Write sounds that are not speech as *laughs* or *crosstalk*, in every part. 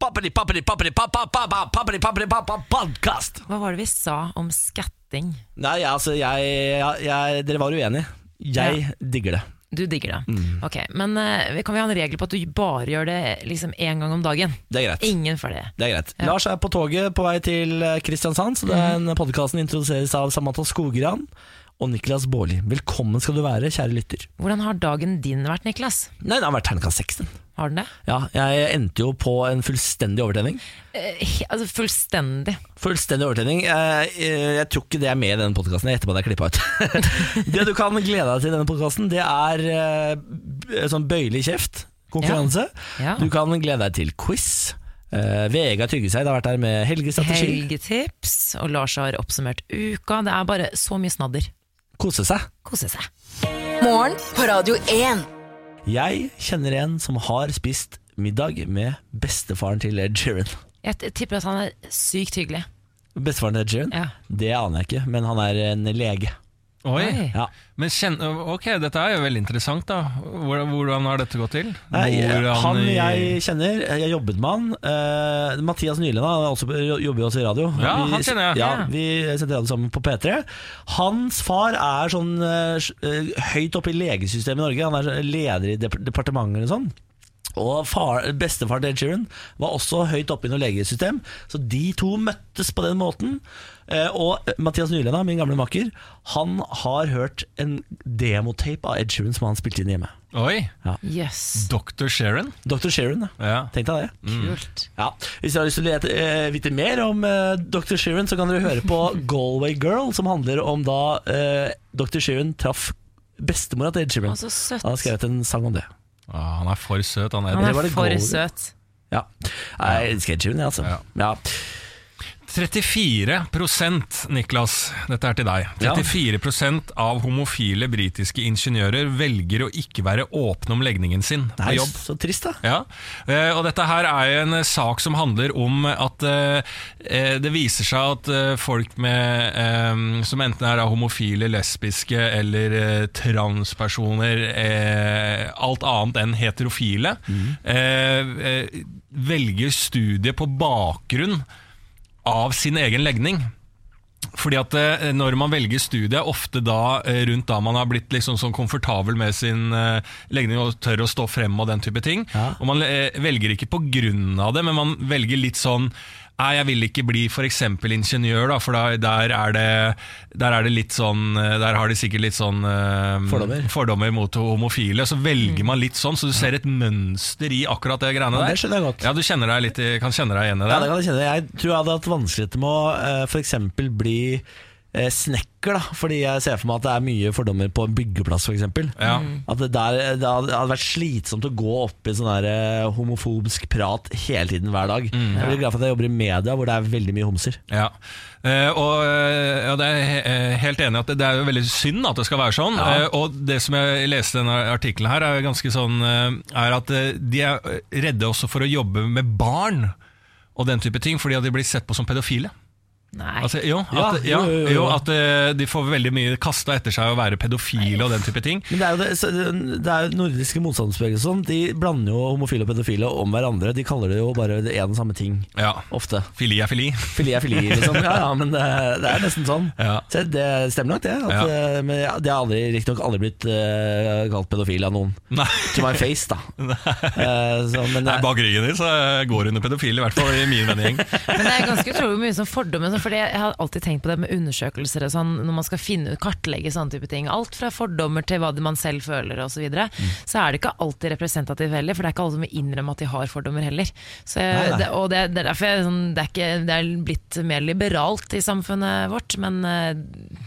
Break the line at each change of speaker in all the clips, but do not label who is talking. Papperi, papperi, papperi, pappa, pappa, papperi, papperi, pappa, podcast
Hva var det vi sa om skatting?
Nei, jeg- altså, jeg, jeg, jeg Dere var uenige. Jeg digger det.
Du digger det.
Mm.
Ok, Men eh, kan vi ha en regel på at du bare gjør det liksom én gang om dagen?
Det er greit.
Ingen flere.
Det er greit.
Ja. Mhm.
Lars er på toget på vei til eh, Kristiansand, så den podkasten introduseres av Samantha Skogran og Niklas Baarli. Velkommen skal du være, kjære lytter.
Hvordan har dagen din vært, Niklas?
Nei, det har vært terningkast 6. den.
Har den det?
Ja, jeg endte jo på en fullstendig overtenning.
Eh, he- altså Fullstendig.
Fullstendig overtenning. Eh, eh, Jeg tror ikke det er med i denne podkasten. Jeg etterpå at jeg klippa ut. *laughs* det du kan glede deg til i denne podkasten, det er eh, b- sånn bøyelig kjeft. Konkurranse.
Ja.
Du kan glede deg til quiz. Eh, Vegard Tryggeseid har vært der med helgestrategi.
Helgetips, og Lars har oppsummert uka. Det er bare så mye snadder.
Kose seg.
Kose seg.
Morgen på Radio 1.
Jeg kjenner en som har spist middag med bestefaren til Ed Sheeran.
Jeg t- tipper at han er sykt hyggelig.
Bestefaren til Ed Sheeran?
Ja.
Det aner jeg ikke, men han er en lege.
Oi.
Oi.
Ja.
Men kjenn, ok, dette er jo veldig interessant, da. Hvordan, hvordan har dette gått til?
Nei, eh,
Bor
han
i-
jeg kjenner, jeg jobbet med han. eh, Mathias Nyland han er også, jobber jo også i radio.
Ja, han kjenner jeg.
Ja,
Ja.
vi sendte radio sammen på P3. Hans far er sånn eh, s- eh, høyt oppe i legesystemet i Norge. Han er sånn leder i dep departementet eller sånn. Og far, bestefaren til Ed Sheeran var også høyt oppe i noe legesystem, så de to møttes på den måten. Eh, Og Mathias Nylenda, min gamle makker, han har hørt en demotape av Ed Sheeran som han spilte inn hjemme.
Oi,
Jøss.
Dr. Sharon.
Dr. Sheeran, ja.
Ja.
tenk deg det.
Kult.
Ja. Hvis dere har lyst til å lete, eh, vite mer om eh, Dr. Sheeran, så kan dere høre på Galway Girl, som handler om da eh, Dr. Sheeran traff bestemora til Ed Sheeran.
Å, så søtt.
Han har skrevet en sang om det.
Ah, han er for søt, han
Han
er.
det var
er
det
for
gode.
søt.
Ja. Jeg elsker Ed Sheeran, jeg, altså.
Ja.
Ja.
34 Niklas, dette er til deg.
Ja.
34 av homofile britiske ingeniører velger å ikke være åpne om legningen sin på
Nei,
jobb.
så trist, da.
Ja, eh, og dette her er jo en eh, sak som handler om at eh, eh, det viser seg at eh, folk med, eh, som enten er da homofile, lesbiske eller eh, transpersoner, eh, alt annet enn heterofile, eh, eh, velger studiet på bakgrunn av sin egen legning. Fordi at eh, når man velger studie, ofte da eh, rundt da man har blitt liksom sånn komfortabel med sin eh, legning og tør å stå frem og den type ting.
Ja.
Og man eh, velger ikke på grunn av det, men man velger litt sånn Nei, jeg vil ikke bli f.eks. ingeniør, da, for da, der, er det, der er det litt sånn eh, Der har de sikkert litt sånn eh,
Fordommer. Mm.
fordommer mot homofile. Så velger man litt sånn, så du ser et mønster i akkurat det greiene
Ja,
der.
det skjønner jeg godt.
Ja, Du kjenner deg litt, i- kan kjenne deg igjen i
Ja, det kan jeg kjenne. Jeg tror jeg hadde hatt vanskeligheter med å eh, for eksempel bli eh, snekker, da. Fordi jeg ser for meg at det er mye fordommer på en byggeplass, for eksempel.
Ja.
At det, der, det hadde hadde vært slitsomt å gå opp i sånn der eh, homofobsk prat hele tiden hver dag. Jeg blir glad for at jeg jobber i media, hvor det er veldig mye homser.
Ja, Eh, og eh, ja, det er jeg he- eh, helt enig i at det, det er jo veldig synd at det skal være sånn.
Ja.
Eh, og det som jeg leste i denne artikkelen her, er jo ganske sånn eh, Er at eh, de er redde også for å jobbe med barn og den type ting, fordi at de blir sett på som pedofile.
Nei.
Altså, jo,
Ja,
at, ja,
jo, jo, jo.
jo, at eh, de får veldig mye kasta etter seg å være pedofile og den type ting.
Men det er jo det, så det- det er jo nordiske motstandsbevegelser og sånn. De blander jo homofile og pedofile om hverandre. De kaller det jo bare det en og samme ting
Ja,
ofte.
Fili er fili.
Fili er fili, liksom. Ja, ja, men det, det er nesten sånn.
Ja.
Så det stemmer nok, det. At,
Ja.
eh, Men jeg- det har aldri, riktignok aldri blitt eh, kalt pedofil av noen.
*laughs* Nei,
To my face,
*laughs*
da. Eh, så, men
nei
det,
bak ryggen din så eh, går hun under pedofil, i hvert fall i min vennegjeng.
Men det er ganske utrolig hvor mye sånn fordommer sånn, Fordi jeg har alltid tenkt på det med undersøkelser og sånn, Når man skal finne ut, kartlegge sånne type ting Alt fra fordommer til hva det man selv føler og så videre
Mm.
Så er det ikke alltid representativt heller For det er ikke alle som vil innrømme at de har fordommer heller så,
nei.
Det, Og det, det er derfor jeg, sånn, det, er ikke, det er blitt mer liberalt i samfunnet vårt Men eh,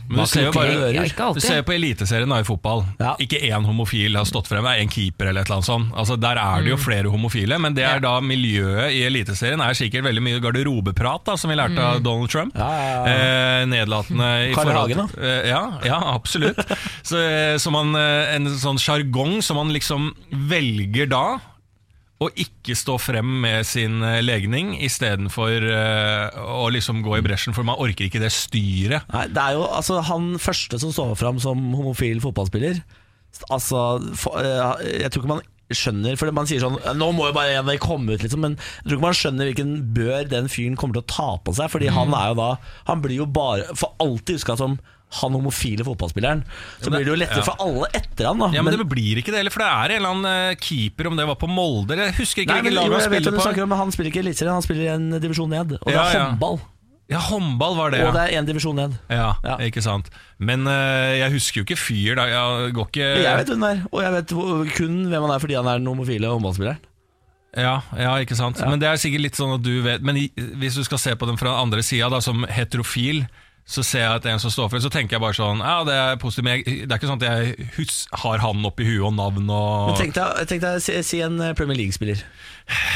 Men
Bak
du ser jo
lukkede
bare
dører.
Ja, ikke alltid.
Du ser jo på Eliteserien da i fotball.
Ja.
Ikke én homofil har stått frem, det er én keeper eller et eller annet sånt. Altså, der er det
Mm.
jo flere homofile, men det er da miljøet i Eliteserien er sikkert veldig mye garderobeprat, da, som vi lærte av Donald Trump.
Mm. Ja, ja,
Eh, nedlatende i
Carl
forhold
Hagen,
til- eh, ja, ja,
*laughs*
absolutt. Så, eh, som man, eh, en sånn sjargong som man liksom velger da. Å ikke stå frem med sin eh, legning istedenfor eh, å liksom gå i bresjen, for man orker ikke det styret.
nei, det er jo altså, han første som står fram som homofil fotballspiller. Altså, for, eh, jeg tror ikke man skjønner For man sier sånn Nå må jo bare en av de komme ut, liksom. Men jeg tror ikke man skjønner hvilken bør den fyren kommer til å ta på seg. Fordi han
Mm.
er jo da Han blir jo bare for alltid huska som han homofile fotballspilleren. Så
men det-
blir det jo lettere
ja.
for alle etter han, da.
Ja, men, det blir ikke det heller, for det er en eller annen eh, keeper, om det var på Molde eller Jeg husker ikke
Nei, men,
hvilket
jo,
lag han
jeg vet
spilte
hvem du
på.
snakker om, men han spiller ikke i Eliteserien, han spiller i en divisjon ned. Og det
Ja,
er
ja.
håndball.
Ja, håndball var det,
Og det
ja.
er én divisjon ned.
ja.
Ja.
Ikke sant. Men eh, jeg husker jo ikke fyr da. Jeg går ikke
Jeg vet hvem det er, og jeg vet hvor- kun hvem han er fordi han er den homofile håndballspilleren.
Ja, ja, ikke sant. Men det er sikkert litt sånn at du vet Men i- hvis du skal se på den fra den andre sida, da, som heterofil, så ser jeg at en som står for det, så tenker jeg bare sånn Ja, det er positivt, men jeg, det er ikke sånn at jeg hus har han oppi huet og navn og
Men Tenk deg, tenk deg si, si en eh, Premier League-spiller.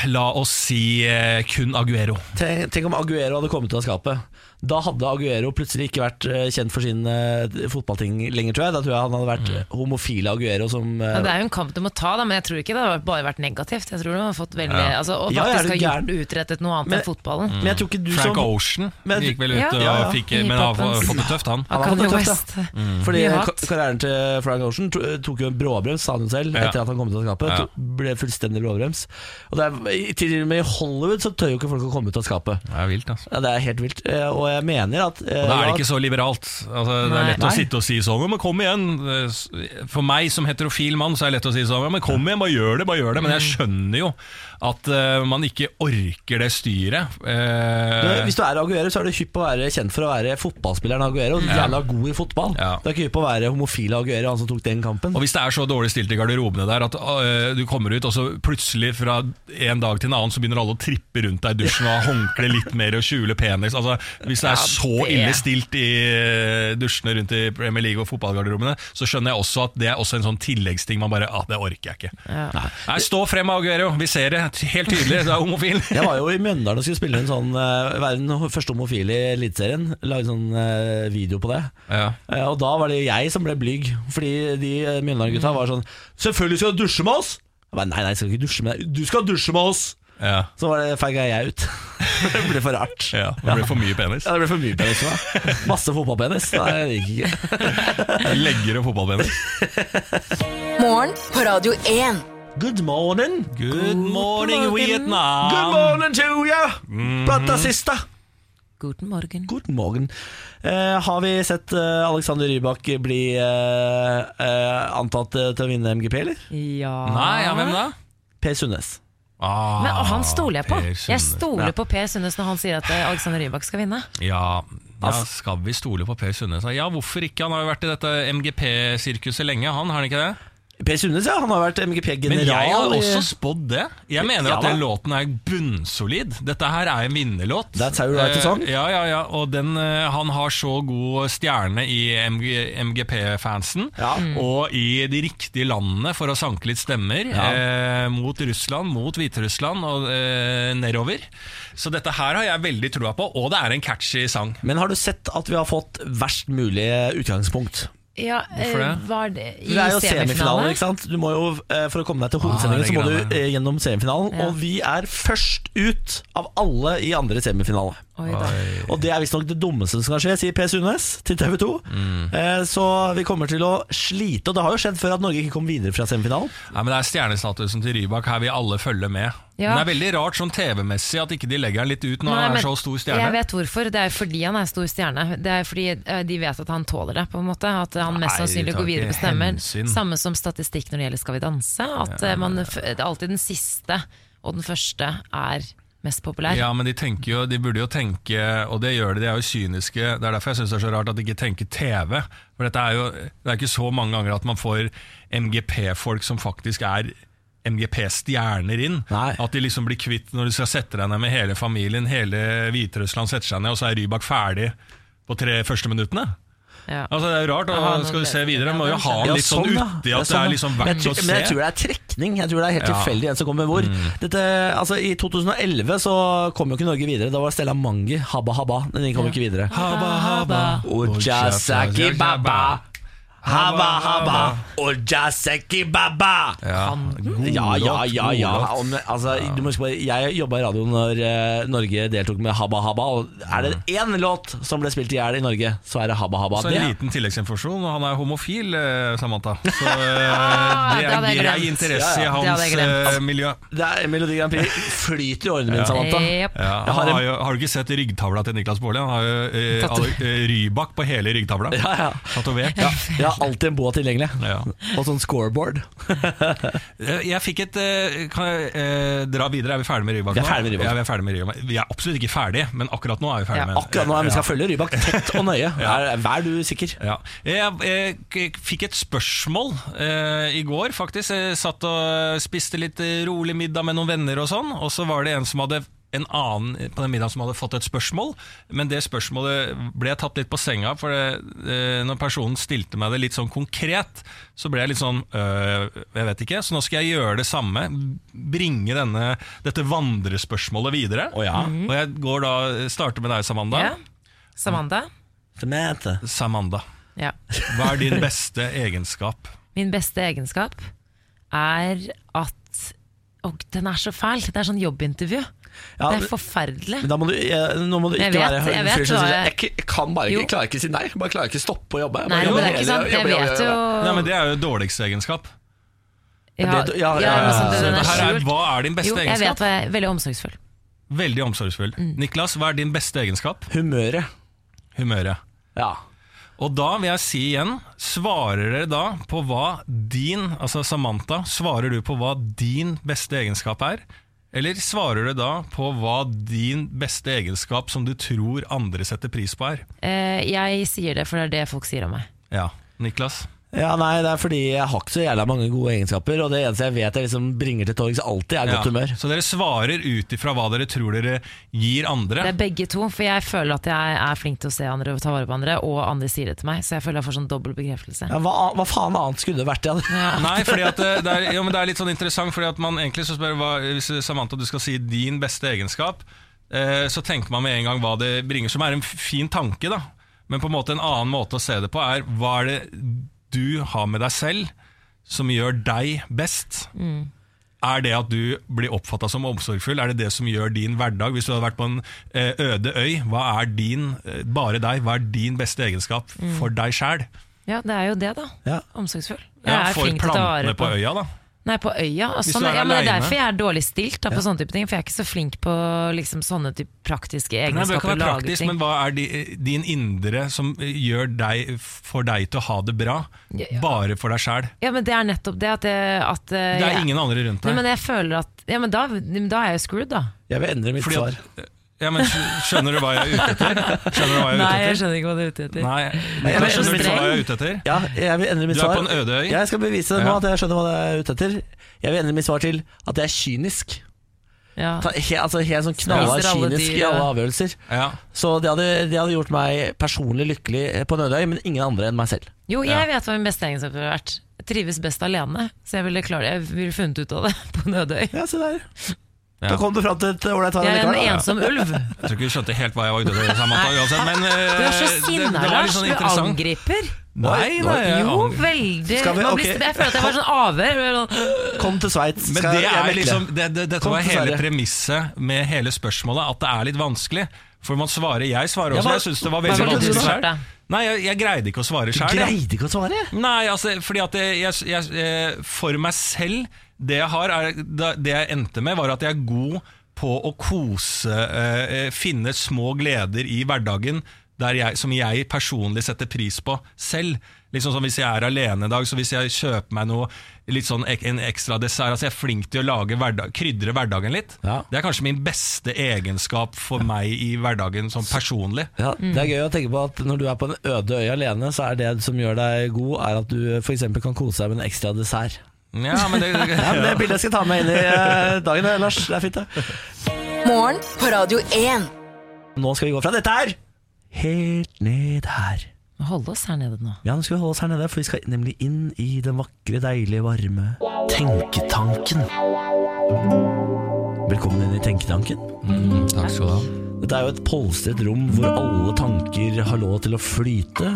La oss si eh, kun Aguero.
Tenk, tenk om Aguero hadde kommet ut av skapet. Da hadde Aguero plutselig ikke vært eh, kjent for sin eh, fotballting lenger, tror jeg. Da tror jeg han hadde
Mm.
vært eh, homofile Aguero som eh,
Ja, det er jo en kamp du må ta, da, men jeg tror ikke det har bare vært negativt. Jeg tror du har fått veldig
Ja.
altså, Og
Ja, er du
faktisk har gjort,
gæren?
utrettet noe annet
Men- Mm.
enn fotballen.
Men jeg tror ikke du
Frank
som
Ocean
Men-
gikk vel ut
Ja.
og
Ja, ja.
fikk Men har fått fått det tøft, han.
Han har fått
Kanye
det
West.
tøft, Fordi
Mye
ka-
hat.
karrieren til Frank Ocean to- eh, tok jo en bråbrems, sa han jo selv,
Ja.
etter at han kom ut av skapet.
Ja.
To- Ble fullstendig bråbrems. Og det er, i- Til og med i Hollywood så tør jo ikke folk å komme ut av skapet.
Det er vilt, altså.
Ja, det er helt vilt. Eh, Og jeg mener at eh,
Og da er
ja,
det ikke så liberalt. Altså, det er
Nei.
lett å
Nei.
sitte og si sånn, men kom igjen. For meg som heterofil mann, så er det lett å si sånn, men kom igjen, bare gjør det, bare gjør det. Men jeg
Mm.
skjønner jo at eh, man ikke orker det styret.
Du,
Eh,
Hvis du er Aguero, så er du hypp på å være kjent for å være fotballspilleren Aguero. Jævla god i fotball.
Ja.
Du er ikke hypp på å være homofil Aguero, han som tok den kampen.
og hvis det er så dårlig stilt i garderobene der at eh, du kommer ut, og så plutselig fra en dag til en annen så begynner alle å trippe rundt deg i dusjen og ha håndkle litt mer og skjule penis. Altså, hvis det er så
det-
ille stilt i eh, dusjene rundt i Premier League og fotballgarderobene, så skjønner jeg også at det er også en sånn tilleggsting man bare ah, det orker jeg ikke. Nei, stå frem, Aguero. Vi ser det T- helt tydelig. Du er homofil.
*laughs*
Jeg var jo i Mjøndalen og skulle spille en sånn uh, være den første homofile i Eliteserien. Lage sånn eh, video på det.
Ja.
Eh, og da var det jeg som ble blyg, fordi de eh, Mjøndalen-gutta var sånn 'Selvfølgelig skal du dusje med oss!' Jeg bare, nei, nei, jeg skal ikke dusje med deg. Du skal dusje med oss!
Ja.
Så var det feiga jeg ut. *laughs* det ble for rart. Ja.
ja. Det ble for mye penis.
det ble for mye penis for meg. *laughs* Masse fotballpenis. Nei, det gikk ikke.
Legger og fotballpenis.
Morgen på Radio 1.
Good morning.
Good morning, Vietnam.
Good morning to you, brata sista.
Guten Morgen.
God morgen. Eh, har vi sett eh, Alexander Rybak bli eh, eh, antatt eh, til å vinne MGP, eller?
Ja.
Nei, ja, hvem da?
Per Sundnes.
Ah,
Men, og han stoler jeg på.
Per
Jeg
Sundnes.
stoler på Per Sundnes når han sier at eh, Alexander Rybak skal vinne.
Ja, ja, skal vi stole på Per Sundnes? Ja, hvorfor ikke? Han har jo vært i dette MGP-sirkuset lenge, han, har han ikke det?
Per Sundnes, ja. Han har vært MGP-general.
Men jeg har
i-
også spådd det. Jeg mener
eh, Ja,
at
da.
den låten er bunnsolid. Dette her er en vinnerlåt.
That's how you write a song.
Eh, Ja, ja, ja. Og den, eh, han har så god stjerne i MG, MGP-fansen,
Ja. Mm.
og i de riktige landene for å sanke litt stemmer. Eh, mot Russland, mot Hviterussland og eh, nedover. Så dette her har jeg veldig trua på, og det er en catchy sang.
Men har du sett at vi har fått verst mulig utgangspunkt?
Ja, eh,
Hvorfor det?
var det i
Det er jo semifinalen,
semifinale?
ikke sant? Du må jo, eh, For å komme deg til
Ah,
hovedsendingen,
det
så må
greiene.
du eh, gjennom semifinalen.
Ja.
Og vi er først ut av alle i andre semifinale.
Oi, da.
Og det er visstnok det dummeste som kan skje, sier Per Sundnes til TV 2.
Mm.
Eh, så vi kommer til å slite, og det har jo skjedd før at Norge ikke kom videre fra semifinalen.
Nei, men Det er stjernestatusen til Rybak her vi alle følger med.
Ja.
Men Det er veldig rart sånn TV-messig at ikke de legger han litt ut når
Nei,
han
men
er så stor
Jeg
stjerne.
vet hvorfor. Det er fordi han er stor stjerne. Det er fordi eh, de vet at han tåler det, på en måte. At han
Nei,
mest sannsynlig
de tar
går videre
ikke
på stemmer.
hensyn.
Samme som statistikk når det gjelder Skal vi danse. At eh, man, f- det er alltid den siste og den første er mest populær.
Ja, men de, tenker jo, de burde jo tenke, og det gjør de, de er jo kyniske. Det er derfor jeg syns det er så rart at de ikke tenker TV. For dette er jo det er ikke så mange ganger at man får MGP-folk som faktisk er MGP-stjerner inn.
Nei.
At de liksom blir kvitt når du skal sette deg ned med hele familien, hele Hviterussland setter seg ned, og så er Rybak ferdig på tre første minuttene.
Ja.
Altså Det er jo rart,
Ja,
og
nå
skal du
vet
se
jeg
videre,
det.
må jo ha
Ja,
litt sånn
ja.
uti at det
sånn,
er
ja.
liksom
Men
verdt
jeg
å
tror-
se.
Men jeg tror det er trekning. Jeg tror det er helt
Ja. Mm.
tilfeldig hvem som kommer hvor. Dette, altså, I 2011 så kom jo ikke Norge videre. Da var Stella Mangi Habba Habba. Den kom jo ikke videre.
Haba, haba.
Ojasaki baba Haba, haba, ojaseki baba.
Ja, god
Ja, ja,
låt,
ja.
god
ja.
låt.
Om, altså, du må huske på, jeg jobba i radio når eh, Norge deltok med Habba Habba. Og er det én låt som ble spilt i hjel i Norge, så er det Habba Habba.
Mm. Så en
Det-
liten tilleggsinformasjon. Han er homofil, eh, Samantha. Så eh,
det
det er
hadde jeg
grei
glemt. Ja, ja.
interesse i
Det hadde
hans
jeg glemt.
eh, miljø.
Det er Melodi Grand Prix flyter i årene mine, Samantha.
Jep.
Ja,
Jeg har
han
en-
har, jo, har du ikke sett ryggtavla til Niklas Baarli? Han har jo eh,
Tatt-
alle- eh, Rybak på hele ryggtavla.
Ja, ja.
Tatovert.
Jeg har alltid en båt tilgjengelig.
Ja.
Og sånn scoreboard.
Eh, Jeg fikk et eh, Kan jeg eh, dra videre? Er vi ferdig med Rybak
Vi er
nå?
ferdig med Rybak.
Ja, vi er ferdig med Rybak. Vi er absolutt ikke ferdig, men akkurat nå er vi ferdig
Ja.
med
Akkurat nå, Vi skal følge Rybak tett og nøye. Er- Vær du sikker.
Ja. Jeg, jeg, k- fikk et spørsmål eh, i går, faktisk. Jeg satt og spiste litt eh, rolig middag med noen venner og sånn, og så var det en som hadde en annen på den middagen som hadde fått et spørsmål, men det spørsmålet ble jeg tatt litt på senga, for det, eh, når personen stilte meg det litt sånn konkret, så ble jeg litt sånn øh, Jeg vet ikke, så nå skal jeg gjøre det samme. Bringe denne, dette vandrespørsmålet videre.
Å ja.
Og jeg går da, starter med deg, Samanda.
Ja. Samantha?
Samantha.
Samanda,
Ja.
hva er din beste egenskap?
Min beste egenskap er at Og den er så fæl! Det er sånn jobbintervju.
Ja,
det
men-
er forferdelig.
Men da må du, eh, nå må du ikke
Jeg vet,
være
jeg vet
fyr som
hva
sier
jeg-
Jeg k- jeg kan bare ikke,
Jo.
jeg klarer ikke si nei. Bare klarer ikke stoppe å jobbe. Jeg
Nei,
bare
men
jobber
det er ikke
hele-
sant. Jeg
jobber, jobber,
vet jo
jobber.
Nei, men Det er jo dårligste egenskap.
Ja,
Det- ja,
ja,
ja, ja,
men sånn,
ja.
den
Det
er
her er,
skjult.
hva er din beste
Jo, jeg vet Mm.
egenskap?
hva jeg er. Veldig omsorgsfull.
Veldig omsorgsfull. Niklas, hva er din beste egenskap?
Humøret.
Humøret.
Ja.
Og da vil jeg si igjen, svarer dere da på hva din, altså Samantha, svarer du på hva din beste egenskap er? Eller svarer du da på hva din beste egenskap som du tror andre setter pris på er?
Eh, jeg sier det, for det er det folk sier om meg.
Ja, Niklas?
Ja, nei, det er fordi jeg har ikke så jævla mange gode egenskaper, og det eneste jeg vet jeg liksom bringer til torgs alltid, er godt
Ja.
humør.
Så dere svarer ut ifra hva dere tror dere gir andre?
Det er begge to, for jeg føler at jeg er flink til å se andre og ta vare på andre, og andre sier det til meg, så jeg føler jeg får sånn dobbel bekreftelse.
Ja, hva, an- hva faen annet skulle det vært? Ja?
Nei, fordi at eh, det er, jo, men det er litt sånn interessant, fordi at man egentlig så spør hva, hvis eh, Samantha du skal si din beste egenskap, eh, så tenker man med en gang hva det bringer, som er en f- fin tanke, da. Men på en måte en annen måte å se det på er hva er det du har med deg selv som gjør deg best?
Mm.
Er det at du blir oppfatta som omsorgsfull? Er det det som gjør din hverdag? Hvis du hadde vært på en eh, øde øy, hva er din, eh, bare deg, hva er din beste egenskap
Mm.
for deg sjæl?
Ja, det er jo det, da.
Ja.
Omsorgsfull. Jeg
Ja,
er
for
flink til å ta vare
plantene på
på
øya, da.
Nei, på øya. Og
Hvis
sånn,
du er
ja, men det er
alene.
derfor jeg er dårlig stilt da, på sånne type ting, for jeg er ikke så flink på liksom, sånne type praktiske
Nei, det bør ikke
egenskaper.
være
lage
praktisk,
ting.
men hva er di- din indre som gjør deg, får deg til å ha det bra,
Ja, ja.
bare for deg sjæl?
Ja, men det er nettopp det at, jeg- at
Det er ingen andre rundt
Nei,
deg.
men jeg føler at Ja, men da, da er jeg jo screwed, da.
Jeg vil endre mitt
Fordi at-
svar.
Ja, men skj- skjønner du hva jeg er ute etter? Skjønner du hva jeg er ute etter?
skjønner ikke hva du er ute etter.
Nei,
Jeg
Niklas,
er så
skjønner du ikke
streng.
hva jeg er ute etter?
Ja, jeg vil endre mitt
Du er
svar.
på en øde øy.
Jeg skal bevise det nå
Ja.
at jeg skjønner hva jeg er ute etter. Jeg vil endre mitt svar til at jeg er kynisk.
Ja.
Ta- He, altså Helt sånn knalla
Spiser alle
kynisk i
dyr,
alle
ja.
avgjørelser.
Ja.
Så det hadde, det hadde gjort meg personlig lykkelig eh, på en øde øy, men ingen andre enn meg selv.
Jo, jeg vet hva min beste egenskap har vært. Jeg trives best alene, så jeg ville klare Jeg ville funnet ut av det *laughs* på Nødøy.
Ja, se der. Da
Ja.
kom du fram til et ålreit svar.
Jeg er en
likevel, da.
ensom ulv.
Jeg tror ikke du skjønte helt hva jeg var ute etter, Samantha, uansett. Men
Du er så
eh,
sinna,
det- det var litt
Lars.
sånn
Du
interessant.
angriper.
Nei, nei, jeg
Jo,
angrer.
veldig.
Skal vi-
Man blir,
ok.
jeg føler at jeg var sånn avhør. Jeg var sånn,
Kom til Sveits.
Men
skal
det
jeg
er
mekle.
liksom det, det, Dette
Kom
var
til
hele
Sverige.
premisset med hele spørsmålet, at det er litt vanskelig. For man svarer Jeg svarer
Ja,
også,
hva-
jeg syns det var
hva
veldig
ville du
vanskelig
svart,
sjøl.
da?
Nei, jeg, jeg greide ikke å svare
Du
sjøl.
greide ikke å svare?
Nei, altså, fordi at jeg, jeg, jeg, eh, For meg selv, det jeg har er, da- Det jeg endte med, var at jeg er god på å kose eh, eh, Finne små gleder i hverdagen der jeg, som jeg personlig setter pris på selv. Liksom som Hvis jeg er alene i dag, så hvis jeg kjøper meg noe Litt sånn ek, en ekstra dessert altså Jeg er flink til å lage hverdag, krydre hverdagen litt.
Ja.
Det er kanskje min beste egenskap for meg i hverdagen, sånn personlig.
Ja,
Mm.
Det er gøy å tenke på at når du er på en øde øy alene, så er det som gjør deg god, er at du f.eks. kan kose deg med en ekstra dessert.
*laughs* Ja, men det,
Ja, men Det bildet skal jeg ta med inn i eh, dagen, eh, Lars. Det er fint, det.
Morgen på Radio 1.
Nå skal vi gå fra dette her helt ned her.
Hold oss her nede nå.
Ja, nå skal vi holde oss her nede, for vi skal nemlig inn i den vakre, deilige, varme Tenketanken. Velkommen inn i Tenketanken.
Takk skal du ha.
Dette er jo et polstret rom hvor alle tanker har lov til å flyte,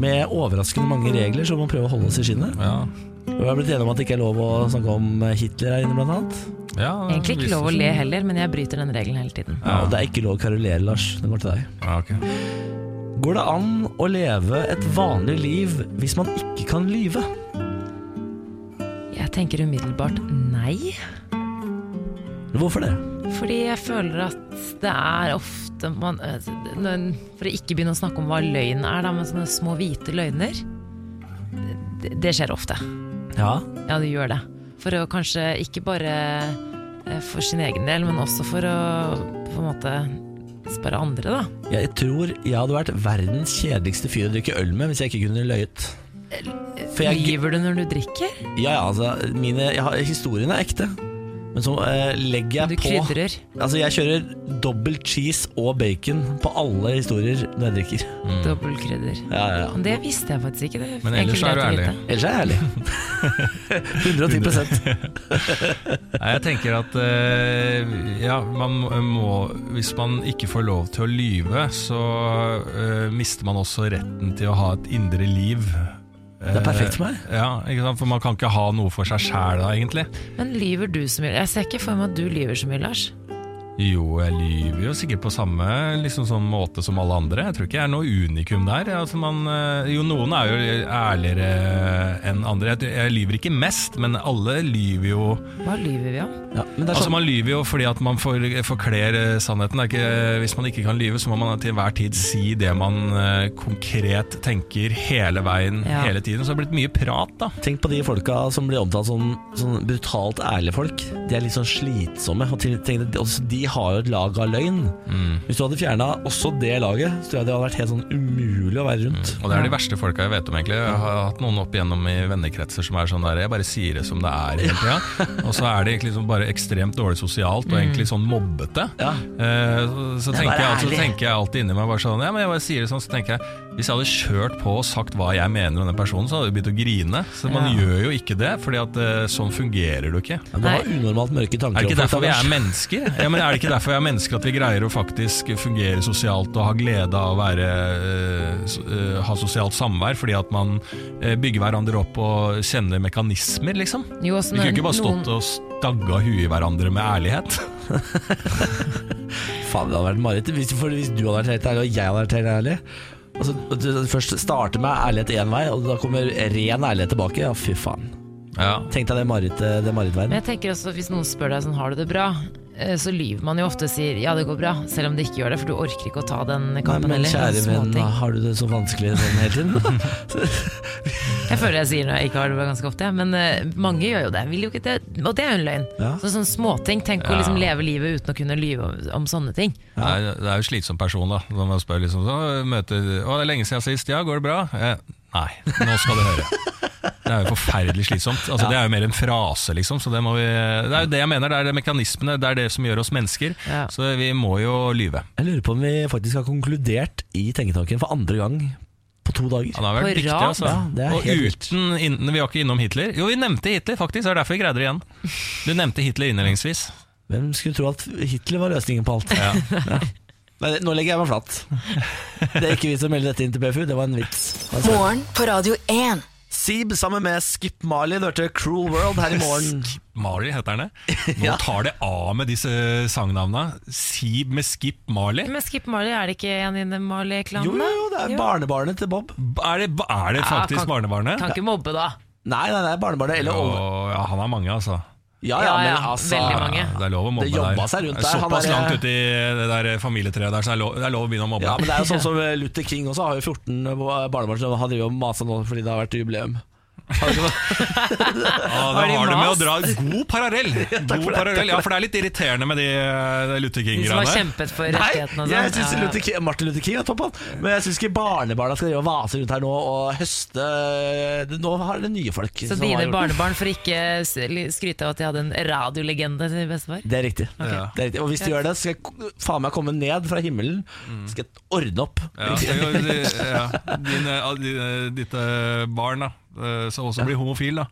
med overraskende mange regler som må prøve å holde oss i skinnet.
Ja.
Og Vi har blitt enige om at det ikke er lov å snakke om Hitler her inne, blant annet.
Ja,
Egentlig ikke
visst.
lov å le heller, men jeg bryter den regelen hele tiden.
Ja, og det er ikke lov å karolere, Lars. Den går til deg.
Ja, ok.
Går det an å leve et vanlig liv hvis man ikke kan lyve?
Jeg tenker umiddelbart nei,
Hvorfor det?
fordi jeg føler at det er ofte man, eh, når- For å ikke begynne å snakke om hva løgn er, da, men sånne små hvite løgner Det, det skjer ofte.
Ja,
Ja, det gjør det. For å kanskje ikke bare eh, for sin egen del, men også for å på en måte spare andre, da.
jeg tror jeg hadde vært verdens kjedeligste fyr å drikke øl med hvis jeg ikke kunne løyet. For jeg,
Lyver du når du drikker?
ja, ja, altså, mine, jeg har- historien er ekte. Men så eh, legger jeg
Du
på
krydrer.
Altså, jeg kjører dobbel cheese og bacon på alle historier når jeg drikker.
Dobbeltkrydder.
Ja, ja, ja.
Men Det visste jeg faktisk ikke. Det
Men
er
ellers
egentlig
er du
greit å
ærlig.
vite.
Ellers er jeg *laughs* ærlig. 110
Nei, jeg tenker at eh, ja, man må- må Hvis man ikke får lov til å lyve, så eh, mister man også retten til å ha et indre liv.
Det er perfekt for meg.
Ja, ikke sant? For man kan ikke ha noe for seg sjæl da, egentlig.
Men lyver du så mye? Jeg ser ikke for meg at du lyver så mye, Lars.
Jo, jeg lyver jo sikkert på samme liksom sånn måte som alle andre. Jeg tror ikke jeg er noe unikum der. Altså man, eh, jo, noen er jo ærligere enn andre. Jeg, tror- jeg lyver ikke mest, men alle lyver jo
Hva lyver vi om?
Ja, men det er
Altså
sånn,
Man lyver jo fordi at man får, forkler eh, sannheten. Det er ikke, hvis man ikke kan lyve, så må man til enhver tid si det man eh, konkret tenker hele veien,
Ja.
hele tiden. Så det har blitt mye prat, da.
tenk på de folka som blir omtalt som sånn brutalt ærlige folk. De er litt sånn slitsomme. Og til- tenk deg, også de har jo et lag av løgn.
Mm.
Hvis du hadde fjerna også det laget, så tror jeg det hadde vært helt sånn umulig å være rundt.
Og det er de verste folka jeg vet om, egentlig. Jeg har hatt noen opp igjennom i vennekretser som er sånn der Jeg bare sier det som det er
*laughs*
hele tida. Og så er de egentlig liksom bare ekstremt dårlig sosialt og egentlig sånn mobbete.
Mm. Ja.
Eh, Så,
Det
så,
er
tenker jeg,
bare
altså,
ærlig.
tenker jeg alltid inni meg bare sånn Ja, men jeg bare sier det sånn, så tenker jeg Hvis jeg hadde kjørt på og sagt hva jeg mener om den personen, så hadde jeg begynt å grine. Så man
Ja.
gjør jo ikke det, fordi at eh, sånn fungerer du ikke.
Ja, Du har unormalt mørke tanker.
Er det
om folk,
ikke derfor vi
Anders.
er mennesker? Ja, men er det ikke derfor vi er mennesker At vi greier å faktisk fungere sosialt og ha glede av å være, eh, s- eh, ha sosialt samvær? Fordi at man eh, bygger hverandre opp og kjenner mekanismer, liksom.
Jo, også
Vi kunne
når
ikke bare stått
noen-
og stagga huet i hverandre med ærlighet.
Faen, det hadde vært mareritt. Hvis, for hvis du hadde vært helt ærlig, og jeg hadde vært helt ærlig Altså, at du Først starter med ærlighet én vei, og da kommer ren ærlighet tilbake. Ja, fy faen.
Ja.
Tenk deg det marerittet. Det
Men
marerittverdenen.
jeg tenker også Hvis noen spør deg sånn, har du det bra? Eh, Så lyver man jo ofte og sier ja, det går bra, selv om det ikke gjør det, for du orker ikke å ta den
Nei,
kampen
men
heller.
kjære
Sånne
venn,
småting.
har du det så vanskelig sånn hele
*laughs*
tiden?
Jeg føler jeg sier når jeg ikke har det bra ganske ofte, men eh, mange gjør jo det. Vil jo ikke det. Og det er jo en løgn.
Ja.
Så sånn småting. Tenk å
Ja.
liksom leve livet uten å kunne lyve om, om sånne ting.
Det er, det er jo slitsom person, da. Når man spør liksom så møter, Å, det er lenge siden sist. Ja, går det bra? Eh, nei, nå skal du høre. Det er jo forferdelig slitsomt. Altså, Det er jo mer en frase, liksom. Så det, må vi, det er jo det jeg mener. Det er det mekanismene, det er det som gjør oss mennesker.
Ja.
Så vi må jo lyve.
Jeg lurer på om vi faktisk har konkludert i Tenketanken for andre gang på to dager.
Han har vært
På
dyktig,
rad,
altså.
ja, det er
og
helt vilt.
uten, inn, Vi var ikke innom Hitler. Jo, vi nevnte Hitler, faktisk. Det er derfor vi greide det igjen. Du nevnte Hitler innledningsvis.
Hvem skulle tro at Hitler var løsningen på alt? *laughs*
Ja.
Nei, det- nå legger jeg meg flat. *laughs* Det er ikke vi som melder dette inn til PFU, det var en vits. Altså. Det var en sak.
Morgen på Radio 1.
Seeb sammen med Skip Marley, du hørte Cruel World her i morgen.
Marley
*laughs*
heter han det. Nå tar det av med disse sangnavna. Sib med Skip Marley.
Men Skip Marley, er det ikke en i den Marley-klanen?
Jo, jo, jo, det er barnebarnet til Bob.
Er det, er det faktisk
kan-
barnebarnet?
Kan ikke mobbe, da.
Nei, nei, nei, barnebarnet eller over...
Åh, ja, han har mange, altså.
Ja, ja,
Ja,
men
ja,
altså
veldig mange.
Ja, det er lov å mobbe
Det jobba
der.
seg rundt
Det er
der. Han
Såpass
er-
langt ut i det der familietreet der, så det er lov, det er lov å begynne å mobbe.
Ja, men det er jo *laughs* sånn som eh, Luther King også har jo 14 barnebarn som har drevet og masa nå fordi det har vært jubileum. Har du ikke det?
Har
Ah, da
de
har du med å
mast?
dra god parallell! God parallell. Ja, for det er litt irriterende med de, de Luther
De som har
King-greiene.
kjempet for
Nei,
rettighetene og sånn.
jeg synes
Ja, ja.
Luther King, Martin Luther King er topp, han. Men jeg syns ikke barnebarna skal drive og vase rundt her nå og høste eh, Nå har det nye folk.
Så
som har
dine
gjort-
barnebarn får ikke s- li- skryte av at de hadde en radiolegende til bestefar?
Det er riktig.
Ja.
Det er riktig. Og hvis de gjør det, så skal jeg k- faen meg komme ned fra himmelen. Skal jeg ordne opp. *laughs*
Mm. Ja, så jo, de, ja. Din, eh, ah, din, eh, ditt eh, barn, da, eh, som også blir homofil, da.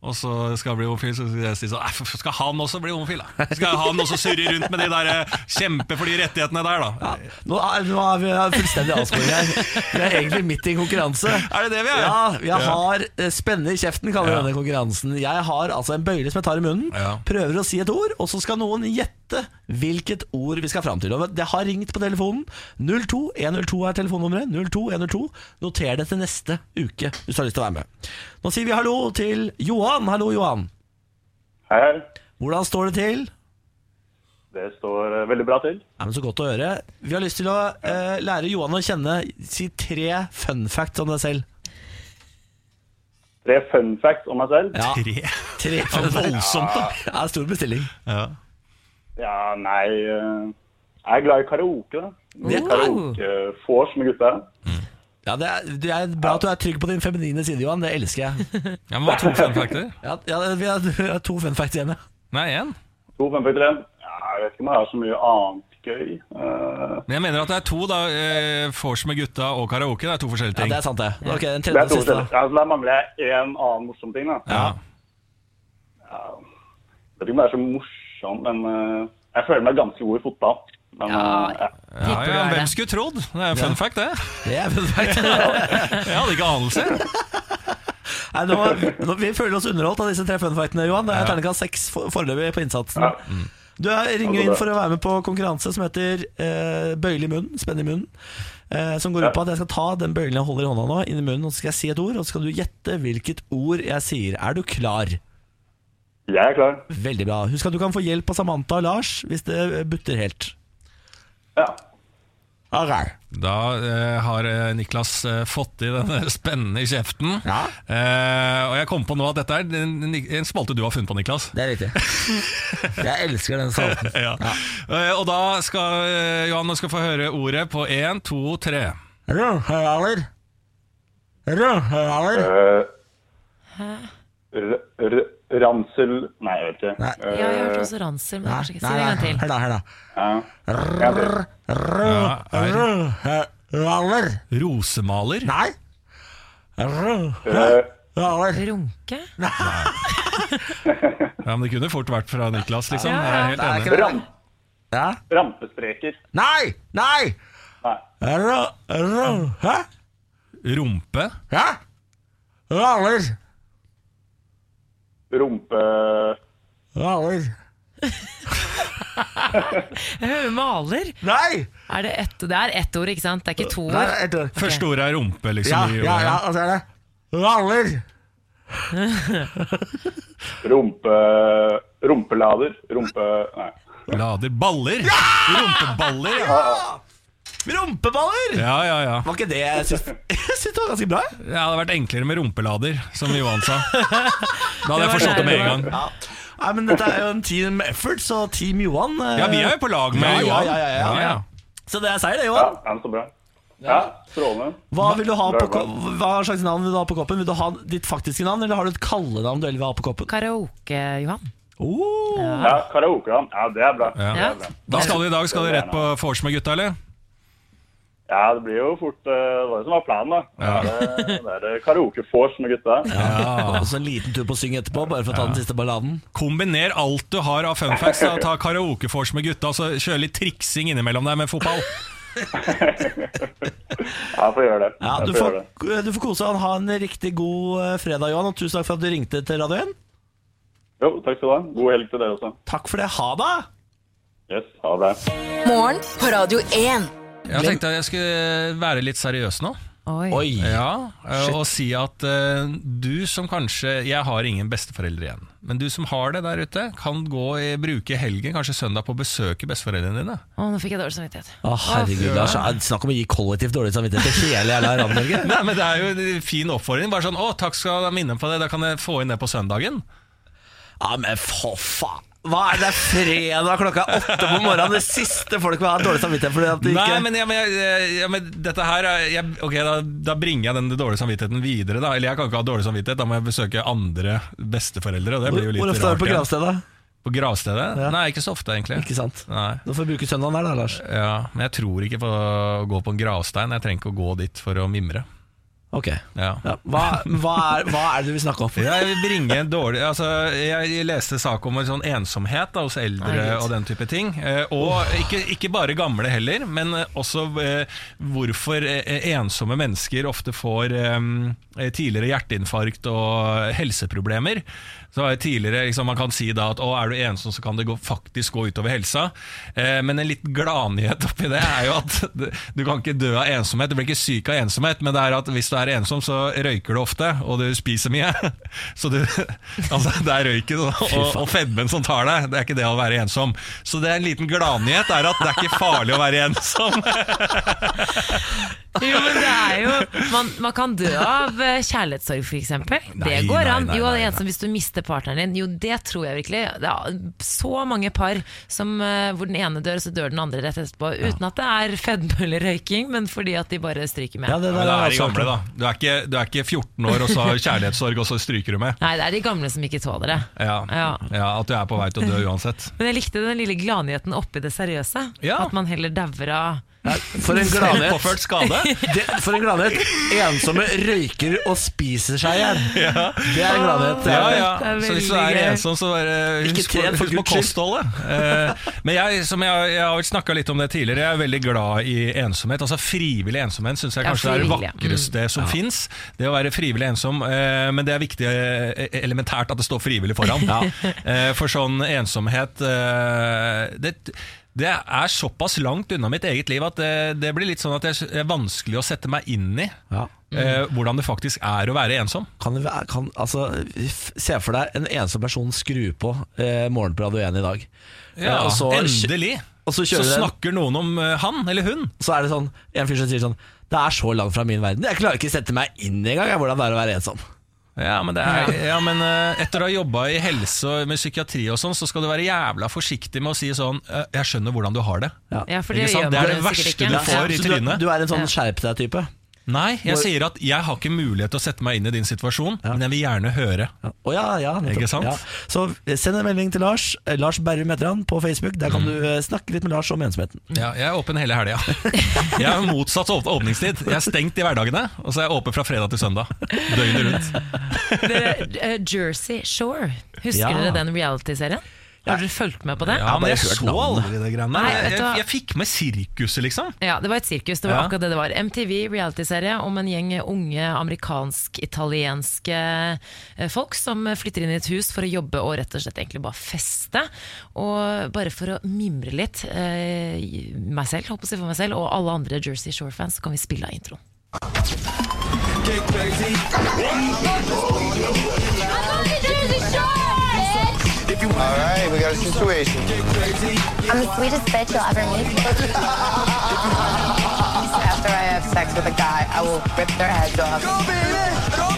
og så skal jeg bli homofil, så skal jeg si sånn "Nei, for- Skal han også bli homofil, da? Skal han også surre rundt med de der eh, kjempe for de rettighetene der, da?
Nå er, nå er vi fullstendig avsporing her. Vi er egentlig midt i en konkurranse.
Er det det vi er?
Ja, jeg har eh, spenne i kjeften, kaller vi denne konkurransen. Jeg har altså en bøyle som jeg tar i munnen,
Ja.
prøver å si et ord, og så skal noen gjette hvilket ord vi skal fram til. Og det har ringt på telefonen. 02102 er telefonnummeret. 02102. Noter det til neste uke hvis du har lyst til å være med. Nå sier vi hallo til Johan. Hallo, Johan.
Hei, hei.
Hvordan står det til?
Det står eh, veldig bra til.
Ja, men Så godt å høre. Vi har lyst til å eh, lære Johan å kjenne. Si tre fun facts om deg selv.
Tre fun facts om meg selv.
Ja,
Tre.
tre
*laughs* Det
fun
er
facts.
Voldsomt, da.
Ja, stor bestilling.
Ja.
Ja, nei eh, Jeg er glad i karaoke, da.
Det
Oh.
Karaoke-vors med gutta.
Ja, det er, det er bra at du er trygg på din feminine side, Johan. Det elsker jeg.
ja, men hva er to fun factor?
Ja, ja Vi har vi har to fun facts igjen, ja.
Nei, én.
To fun facts igjen. Ja, jeg vet ikke om jeg har så mye annet gøy. Eh,
Men jeg mener at det er to, da. eh, Vors med gutta og karaoke. Det er to forskjellige
ja
ting.
det er sant, det. Ok, den
det
tredje
er
og
to
siste.
forskjellige.
da.
Ja, så da mangler jeg én annen morsom ting, da.
Ja.
Jeg vet ikke om det er så morsom, men eh, jeg føler meg ganske god i fotball. Men
Ja.
eh, ja.
Ja,
Tipper du
ja,
er
hvem
det.
skulle trodd? Det er en fun fact,
*laughs*
det.
Det er fun fact.
Jeg hadde ikke anelse.
Nei, nå, nå, vi føler oss underholdt av disse tre fun factene, Johan. Det er terningkast seks for- foreløpig på innsatsen. Mm.
Ja.
Du er- ringer inn for å være med på konkurranse som heter eh, Bøyle i munnen, spenn i munnen. Eh, som går ut på at jeg skal ta den bøylen jeg holder i hånda nå, inn i munnen, og så skal jeg si et ord, og så skal du gjette hvilket ord jeg sier. Er du klar?
Jeg er klar.
Veldig bra. Husk at du kan få hjelp av Samantha og Lars hvis det butter helt.
Ja.
Okay.
Da eh, har eh, Niklas eh, fått i denne spennende i kjeften.
Ja.
Eh, og jeg kom på nå at dette er en, en spalte du har funnet på, Niklas.
Det er *laughs* riktig. Jeg elsker den spalten.
*laughs* Ja. Eh, og da skal eh, Johan nå skal få høre ordet på én, to, tre.
Rødhøyaler. Rødhøyaler.
Eh, r- r- Ramsel Nei, jeg vet ikke.
Nei.
Eh,
Ja, jeg har hørt også ransel, men jeg kanskje ikke si det en gang til.
Hør da, hør da.
ja. Ja, det-
Ja, er
Rødhøyaler.
rosemaler.
Nei.
eh,
Rødhøyaler.
Runke?
Ja, men Det kunne fort vært fra Niklas, liksom. Jeg er helt enig.
ram,
Ja.
rampespreker.
Nei! Nei!
Nei.
Rø... Rø... Hæ?
Rumpe.
Hæ? Hvaler.
Rumpe...
Hvaler.
Jeg hører maler.
Nei!
Er det, ett- det er ett ord, ikke sant? Det er ikke to
Nei,
ord.
et ord.
Første ordet er rumpe, liksom.
Ja,
i ordet.
ja, ja, og så er det Hvaler.
Rumpe... Rumpelader. Rumpe... Nei.
Lader baller. Rumpeballer, ja.
Rumpeballer!
Ja, ja, ja.
Var ikke det jeg syns *laughs* Jeg syns det var ganske bra. jeg.
Det hadde vært enklere med rumpelader, som Johan
*laughs*
sa. Da hadde jeg
var
forstått det med en
nærmere.
gang.
Ja. Nei, men Dette er jo en team effort, så Team Johan eh,
Ja, vi er jo på lag med
Ja, ja,
Johan.
ja, ja, ja. Så det er seier, det,
Ja,
Johan.
ja, så bra. Ja, strålende.
Hva, vil du ha
Bra,
på,
bra.
ko- hva slags navn vil du ha på koppen? Vil du ha ditt faktiske navn, eller har du et kallenavn du heller vil ha på koppen?
Karaoke, Johan.
Oh.
Ja, karaokeland. Ja, det er bra.
Ja.
Det er bra.
Da skal du i dag skal du rett på vors med gutta, eller?
Ja, det blir jo fort... eh, Det var det som var planen, da. Det er, det er karaoke-fors med gutta.
*laughs* Og så en liten tur på å synge etterpå, bare for å ta den siste balladen.
Kombiner alt du har av fun facts. Da. Ta karaokevors med gutta, og så kjør litt triksing innimellom der med fotball.
Ja, jeg får gjøre det.
Ja,
Jeg
du,
får
får, eh,
gjøre det.
du får kose deg. Ha en riktig god eh, fredag, Johan, og tusen takk for at du ringte til Radio 1.
Jo, takk skal du ha. God helg til dere også.
Takk for det. Ha det!
Yes, ha det.
Morgen på Radio 1.
Jeg tenkte jeg skulle være litt seriøs nå.
Oi.
Oi.
Ja, eh, og si at eh, du som kanskje Jeg har ingen besteforeldre igjen, men du som har det der ute, kan gå i, bruke helgen, kanskje søndag, på å besøke besteforeldrene dine.
Å, nå fikk jeg dårlig samvittighet.
Å, herregud, Lars. Snakk om å gi kollektivt dårlig samvittighet til hele jævla Radio-Norge.
*laughs* Nei, men Det er jo en fin oppfordring. Bare sånn 'Å, takk skal du minne på det, da kan jeg få inn det på søndagen'.
Ja, men for faen. Hva er det det er fredag klokka åtte på morgenen? Det siste folk vil ha dårlig samvittighet fordi at de ikke
Nei, men, ja, men, jeg- eh, ja, men dette her er jeg, Ok, da, da bringer jeg den dårlige samvittigheten videre, da. Eller jeg kan ikke ha dårlig samvittighet, da må jeg besøke andre besteforeldre. og Det blir jo litt
Hvor ofte er du på
rart, ja.
gravstedet?
På gravstedet?
Ja.
Nei, ikke så ofte, egentlig.
Ikke sant?
Nei.
Nå får vi bruke søndagen her, da, Lars.
Ja, men jeg tror ikke på å gå på en gravstein. Jeg trenger ikke å gå dit for å mimre.
Ok.
Ja.
Ja. Hva, hva, er, hva er det du vil snakke om?
Jeg vil bringe en dårlig altså, Jeg leste sak om en sånn ensomhet da, hos eldre
Nei, Gud.
og den type ting. Eh, Og ikke, ikke bare gamle heller, men eh, også eh, hvorfor eh, ensomme mennesker ofte får eh, tidligere hjerteinfarkt og helseproblemer. Så var det tidligere, liksom, Man kan si da at å, er du ensom, så kan det gå, faktisk gå utover helsa. Eh, Men en litt gladnyhet oppi det er jo at *laughs* du kan ikke dø av ensomhet. Du blir ikke syk av ensomhet, men det er at hvis du er ensom, så røyker du ofte, og du spiser mye. *laughs* Så du, altså, det er røyken og, og febben som tar deg. Det er ikke det å være ensom. Så det er en liten gladnyhet er at det er ikke farlig å være ensom.
*laughs* Jo, men det er jo Man, man kan dø av eh, kjærlighetssorg, f.eks. Det
Nei,
går
nei,
an.
nei,
Jo, det
nei,
er ensom hvis du mister partneren din. Jo, det tror jeg virkelig. Det er så mange par som, eh, hvor den ene dør, og så dør den andre rett etterpå. Uten at det er fedme eller røyking, men fordi at de bare stryker med.
Ja, det
Men
der
det
er altså
er de
også
gamle, da. Du er ikke, du er ikke 14 år og så har kjærlighetssorg, og så stryker du med.
Nei, det er de gamle som ikke tåler det.
Ja,
Ja.
ja, At du er på vei til å dø uansett.
Men jeg likte den lille gladnyheten oppi det seriøse.
Ja.
At man heller dauer av
Ja, For
*laughs*
en gladhet.
Påført
*laughs*
skade.
Det, for en gladhet. Ensomme røyker og spiser seg i hjel. Det er en gladhet.
Ja,
Ja,
ja.
Det er
Så hvis du
veldig
er
gøy.
ensom, så bare
Ikke
husk,
tren
på-
for
husk på
Guds skyld.
kostholdet. Eh, men jeg, som jeg, jeg har snakka litt om det tidligere, jeg er veldig glad i ensomhet. Altså Frivillig ensomhet syns jeg
Ja,
kanskje er det
frivillig, ja.
vakreste som fins. Det å være frivillig ensom. eh, men det er viktig eh, elementært at det står frivillig
*laughs*
foran. Eh, for sånn ensomhet eh, det, det er såpass langt unna mitt eget liv at det, det blir litt sånn at det er vanskelig å sette meg inn i
Ja.
Mm.
eh, hvordan det faktisk er å være ensom.
Kan, det være- kan, altså, f- se for deg en ensom person skru på eh, morgenen på Radio 1 i dag.
Ja,
Eh, og så,
endelig.
og så
så
kjører den.
snakker noen om eh, han eller hun.
så er det sånn En fyr som sier sånn Det er så langt fra min verden. Jeg klarer ikke sette meg inn engang jeg, hvordan det er å være ensom.
Ja, men, det er, ja, men eh, etter å ha jobba i helse og med psykiatri og sånn, så skal du være jævla forsiktig med å si sånn eh, Jeg skjønner hvordan du har det.
Ja, for
Ikke
det gjør
sant? Det er
man
det
jo sikkert
verste
ikke.
du
Ja.
får i
så du,
trynet.
du er en sånn skjerp deg-type.
Nei, jeg sier at jeg har ikke mulighet til å sette meg inn i din situasjon, men jeg vil gjerne høre.
Ja. Å ja, ja, nettopp.
Ikke sant?
Ja. Så send en melding til Lars. Eh, Lars Berrum heter han på Facebook. Der kan du eh, snakke litt med Lars om ensomheten.
Ja, jeg er åpen hele helga. *laughs* Jeg er motsatt åp- åpningstid. Jeg er stengt i hverdagene, og så er jeg åpen fra fredag til søndag. Døgnet rundt.
Dere, eh, Jersey Shore, husker
Ja.
dere den reality-serien? Har dere fulgt med på det?
Ja, men
bare
jeg
hørt
så
navnet.
aldri det greiene
Nei,
der. Jeg,
vet du
jeg,
hva?
jeg fikk med sirkuset, liksom.
Ja, det var et sirkus. Det var
Ja.
akkurat det det var. MTV, reality-serie om en gjeng unge amerikansk-italienske eh, folk som flytter inn i et hus for å jobbe og rett og slett egentlig bare feste. Og bare for å mimre litt, eh, meg selv, håper jeg å si for meg selv, og alle andre Jersey Shore-fans, så kan vi spille av introen.
All right, we got a situation.
I'm the sweetest bitch you'll ever meet.
After I have sex with a guy, I will rip their heads off.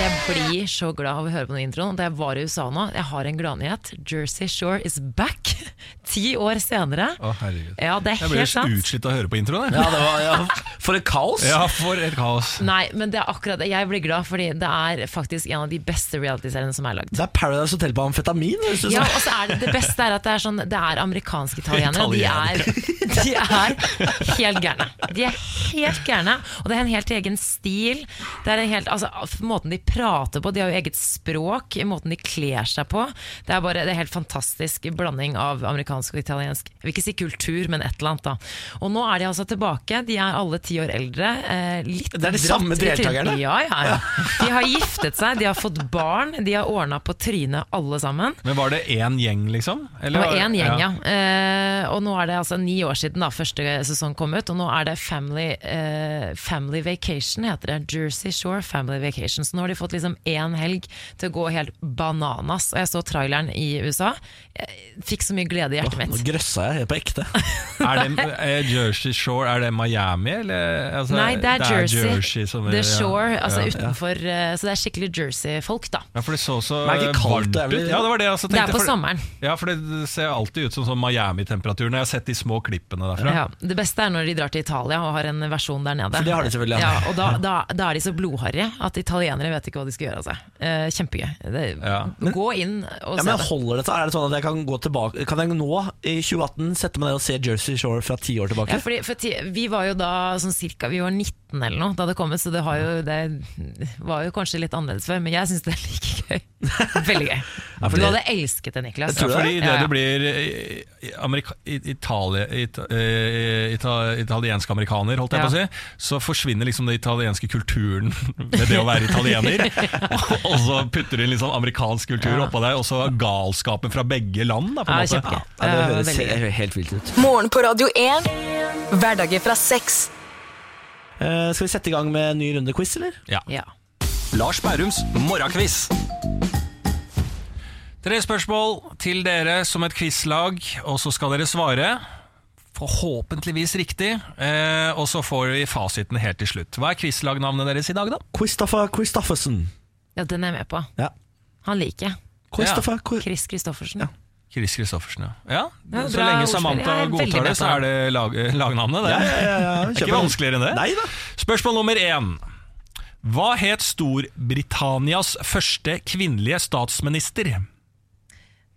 Jeg blir så glad av å høre på den introen. Da jeg var i USA nå, jeg har en gladnyhet. Jersey Shore is back! *laughs* Ti år senere.
Å, herregud.
Ja, det er
Jeg blir
helt
så
sant.
utslitt av å høre på introen. jeg.
Ja, det var, ja. *laughs* For et kaos!
Ja, for et kaos.
Nei, men det er akkurat det. Jeg blir glad, fordi det er faktisk en av de beste realityseriene som er lagd.
Det er Paradise Hotel på amfetamin. Hvis du sånn?
Ja,
ja.
og så er det, det beste er at det er sånn Det er amerikanske italienere. De er, *laughs* de er helt gærne. De er helt gærne, og det er en helt egen stil. Det er en helt, altså, f- måten de prater på De har jo eget språk, måten de kler seg på. Det er bare det er helt fantastisk blanding av amerikansk og italiensk. Jeg vil ikke si kultur, men et eller annet, da. Og nå er de altså tilbake. De er alle ti år eldre. Eh, litt
Det er de
dratt
samme
i trynet.
deltakerne?
Ja, ja, ja. De har giftet seg, de har fått barn, de har ordna på trynet alle sammen.
Men var det én gjeng, liksom? Eller
Det var én gjeng, ja. Eh, og nå er det altså ni år siden da første sesong kom ut, og nå er det Family, eh, family Vacation, heter det. Jersey Shore Family Vacation. Så nå har de fått liksom én helg til å gå helt bananas. Og jeg så traileren i USA. Jeg fikk så mye glede i hjertet
Nå
mitt.
grøssa jeg helt på ekte.
*laughs*
Er det eh, Jersey Shore, er det Miami, eller? Altså,
Nei, det er Jersey.
som
The Shore,
ja.
altså
ja.
utenfor eh, Så det er skikkelig Jersey-folk, da.
Ja, for det så så
Men er det ikke kaldt,
varmt
det er vel-
ut. Ja, det var det jeg også
Det
tenkte.
er på
for-
sommeren.
Ja, for det ser alltid ut som sånn Miami-temperatur når jeg har sett de små klippene derfra.
Ja, det beste er når de drar til Italia og har en versjon der nede.
For det har de selvfølgelig, ja.
ja. Og da, da, da er de så blodharrige at italienere vet ikke hva de skal gjøre av seg. Eh, kjempegøy. Det,
Ja.
Gå inn og
Ja,
se
men
det.
holder det seg? Er det sånn at jeg kan gå tilbake Kan jeg nå, i 2018, sette meg ned og se Jersey Shore fra ti år tilbake?
Ja, fordi, for ti, vi var jo da sånn cirka Vi var 19 eller noe da det kom ut, så det, har jo, det var jo kanskje litt annerledes før, men jeg syns det er like
*laughs*
gøy. Veldig gøy.
fordi-
Du hadde elsket det, Niklas.
Ja, fordi det
Ja, ja.
det blir eh, amerika i- Italie, ita, eh, ita, italiensk-amerikaner, holdt jeg
Ja.
på å si, så forsvinner liksom den italienske kulturen *laughs* ved det å være italiener.
*laughs*
Og- Og så putter du inn litt sånn amerikansk kultur
Ja.
oppå deg, og så galskapen fra begge land. Da, på
Ja,
en måte.
kjempegøy.
Ja, det
Ja,
høres
veldig gøy.
he- helt vilt ut.
Morgen på Radio 1. Hverdager fra seks.
Eh, skal vi sette i gang med en ny runde quiz, eller?
Ja.
Lars Bærums morgenkviss. Tre spørsmål til dere som et quizlag, og så skal dere svare. Forhåpentligvis riktig. Eh, og så får vi fasiten helt til slutt. Hva er quizlagnavnet deres i dag, da?
Christopher Christoffersen.
ja, den er jeg med på.
Ja.
Han liker jeg.
Christopher, Chris-
Chris Christoffersen.
Ja.
Chris Christoffersen, ja. ja.
Ja,
så
bra
lenge
ordspill.
Samantha
Jeg er veldig
godtar det,
med på
så er det lag, eh, lagnavnet. Det.
ja, ja, ja, ja. Eh? kjøper
*laughs*
det er ikke
den.
vanskeligere enn det.
Nei da.
Spørsmål nummer én. Hva het Storbritannias første kvinnelige statsminister?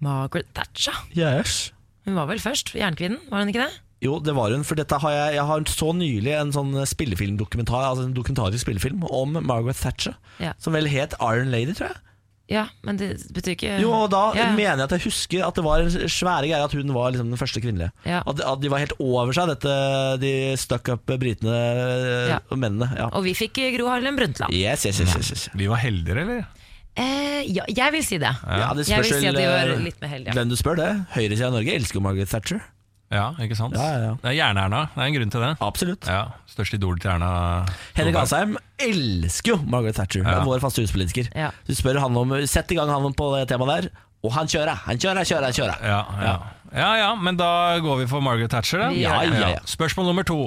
Margaret Thatcher.
Yes.
Hun var vel først jernkvinnen, var hun ikke det?
Jo, det var hun, for dette har jeg, jeg har så nylig en sånn spillefilmdokumentar Altså en dokumentarisk spillefilm om Margaret Thatcher,
Ja.
som vel het Iron Lady, tror jeg.
Ja, men det betyr ikke
Jo, og da
ja.
mener jeg at jeg husker at det var en svære greie at hun var liksom den første kvinnelige.
Ja.
At, at de var helt over seg, dette, de stuck up britene
Ja.
og mennene. Ja.
Og vi fikk eh, Gro Harlem Brundtland.
Yes, yes, yes, yes, yes.
Vi var heldigere, eller?
Eh, ja, jeg vil si det.
Ja, det
Jeg
spørs
vil si at
vel,
de var
eh,
litt mer heldige.
Hvem du spør det. Høyresida i Norge elsker jo Margaret Thatcher.
Ja, ikke sant?
Ja, ja, ja.
Det er Jern-Erna. Det er en grunn til det.
Absolutt.
Ja, Største idol til Erna.
Henrik
Solberg.
Asheim elsker jo Margaret Thatcher. Det
Ja.
er vår faste huspolitiker.
Ja.
Du spør han om Sett i gang han på det temaet der, og han kjører! Han kjører, kjører, kjører!
Ja ja. ja, ja, men da går vi for Margaret Thatcher, da.
Ja, ja, ja.
Spørsmål nummer to.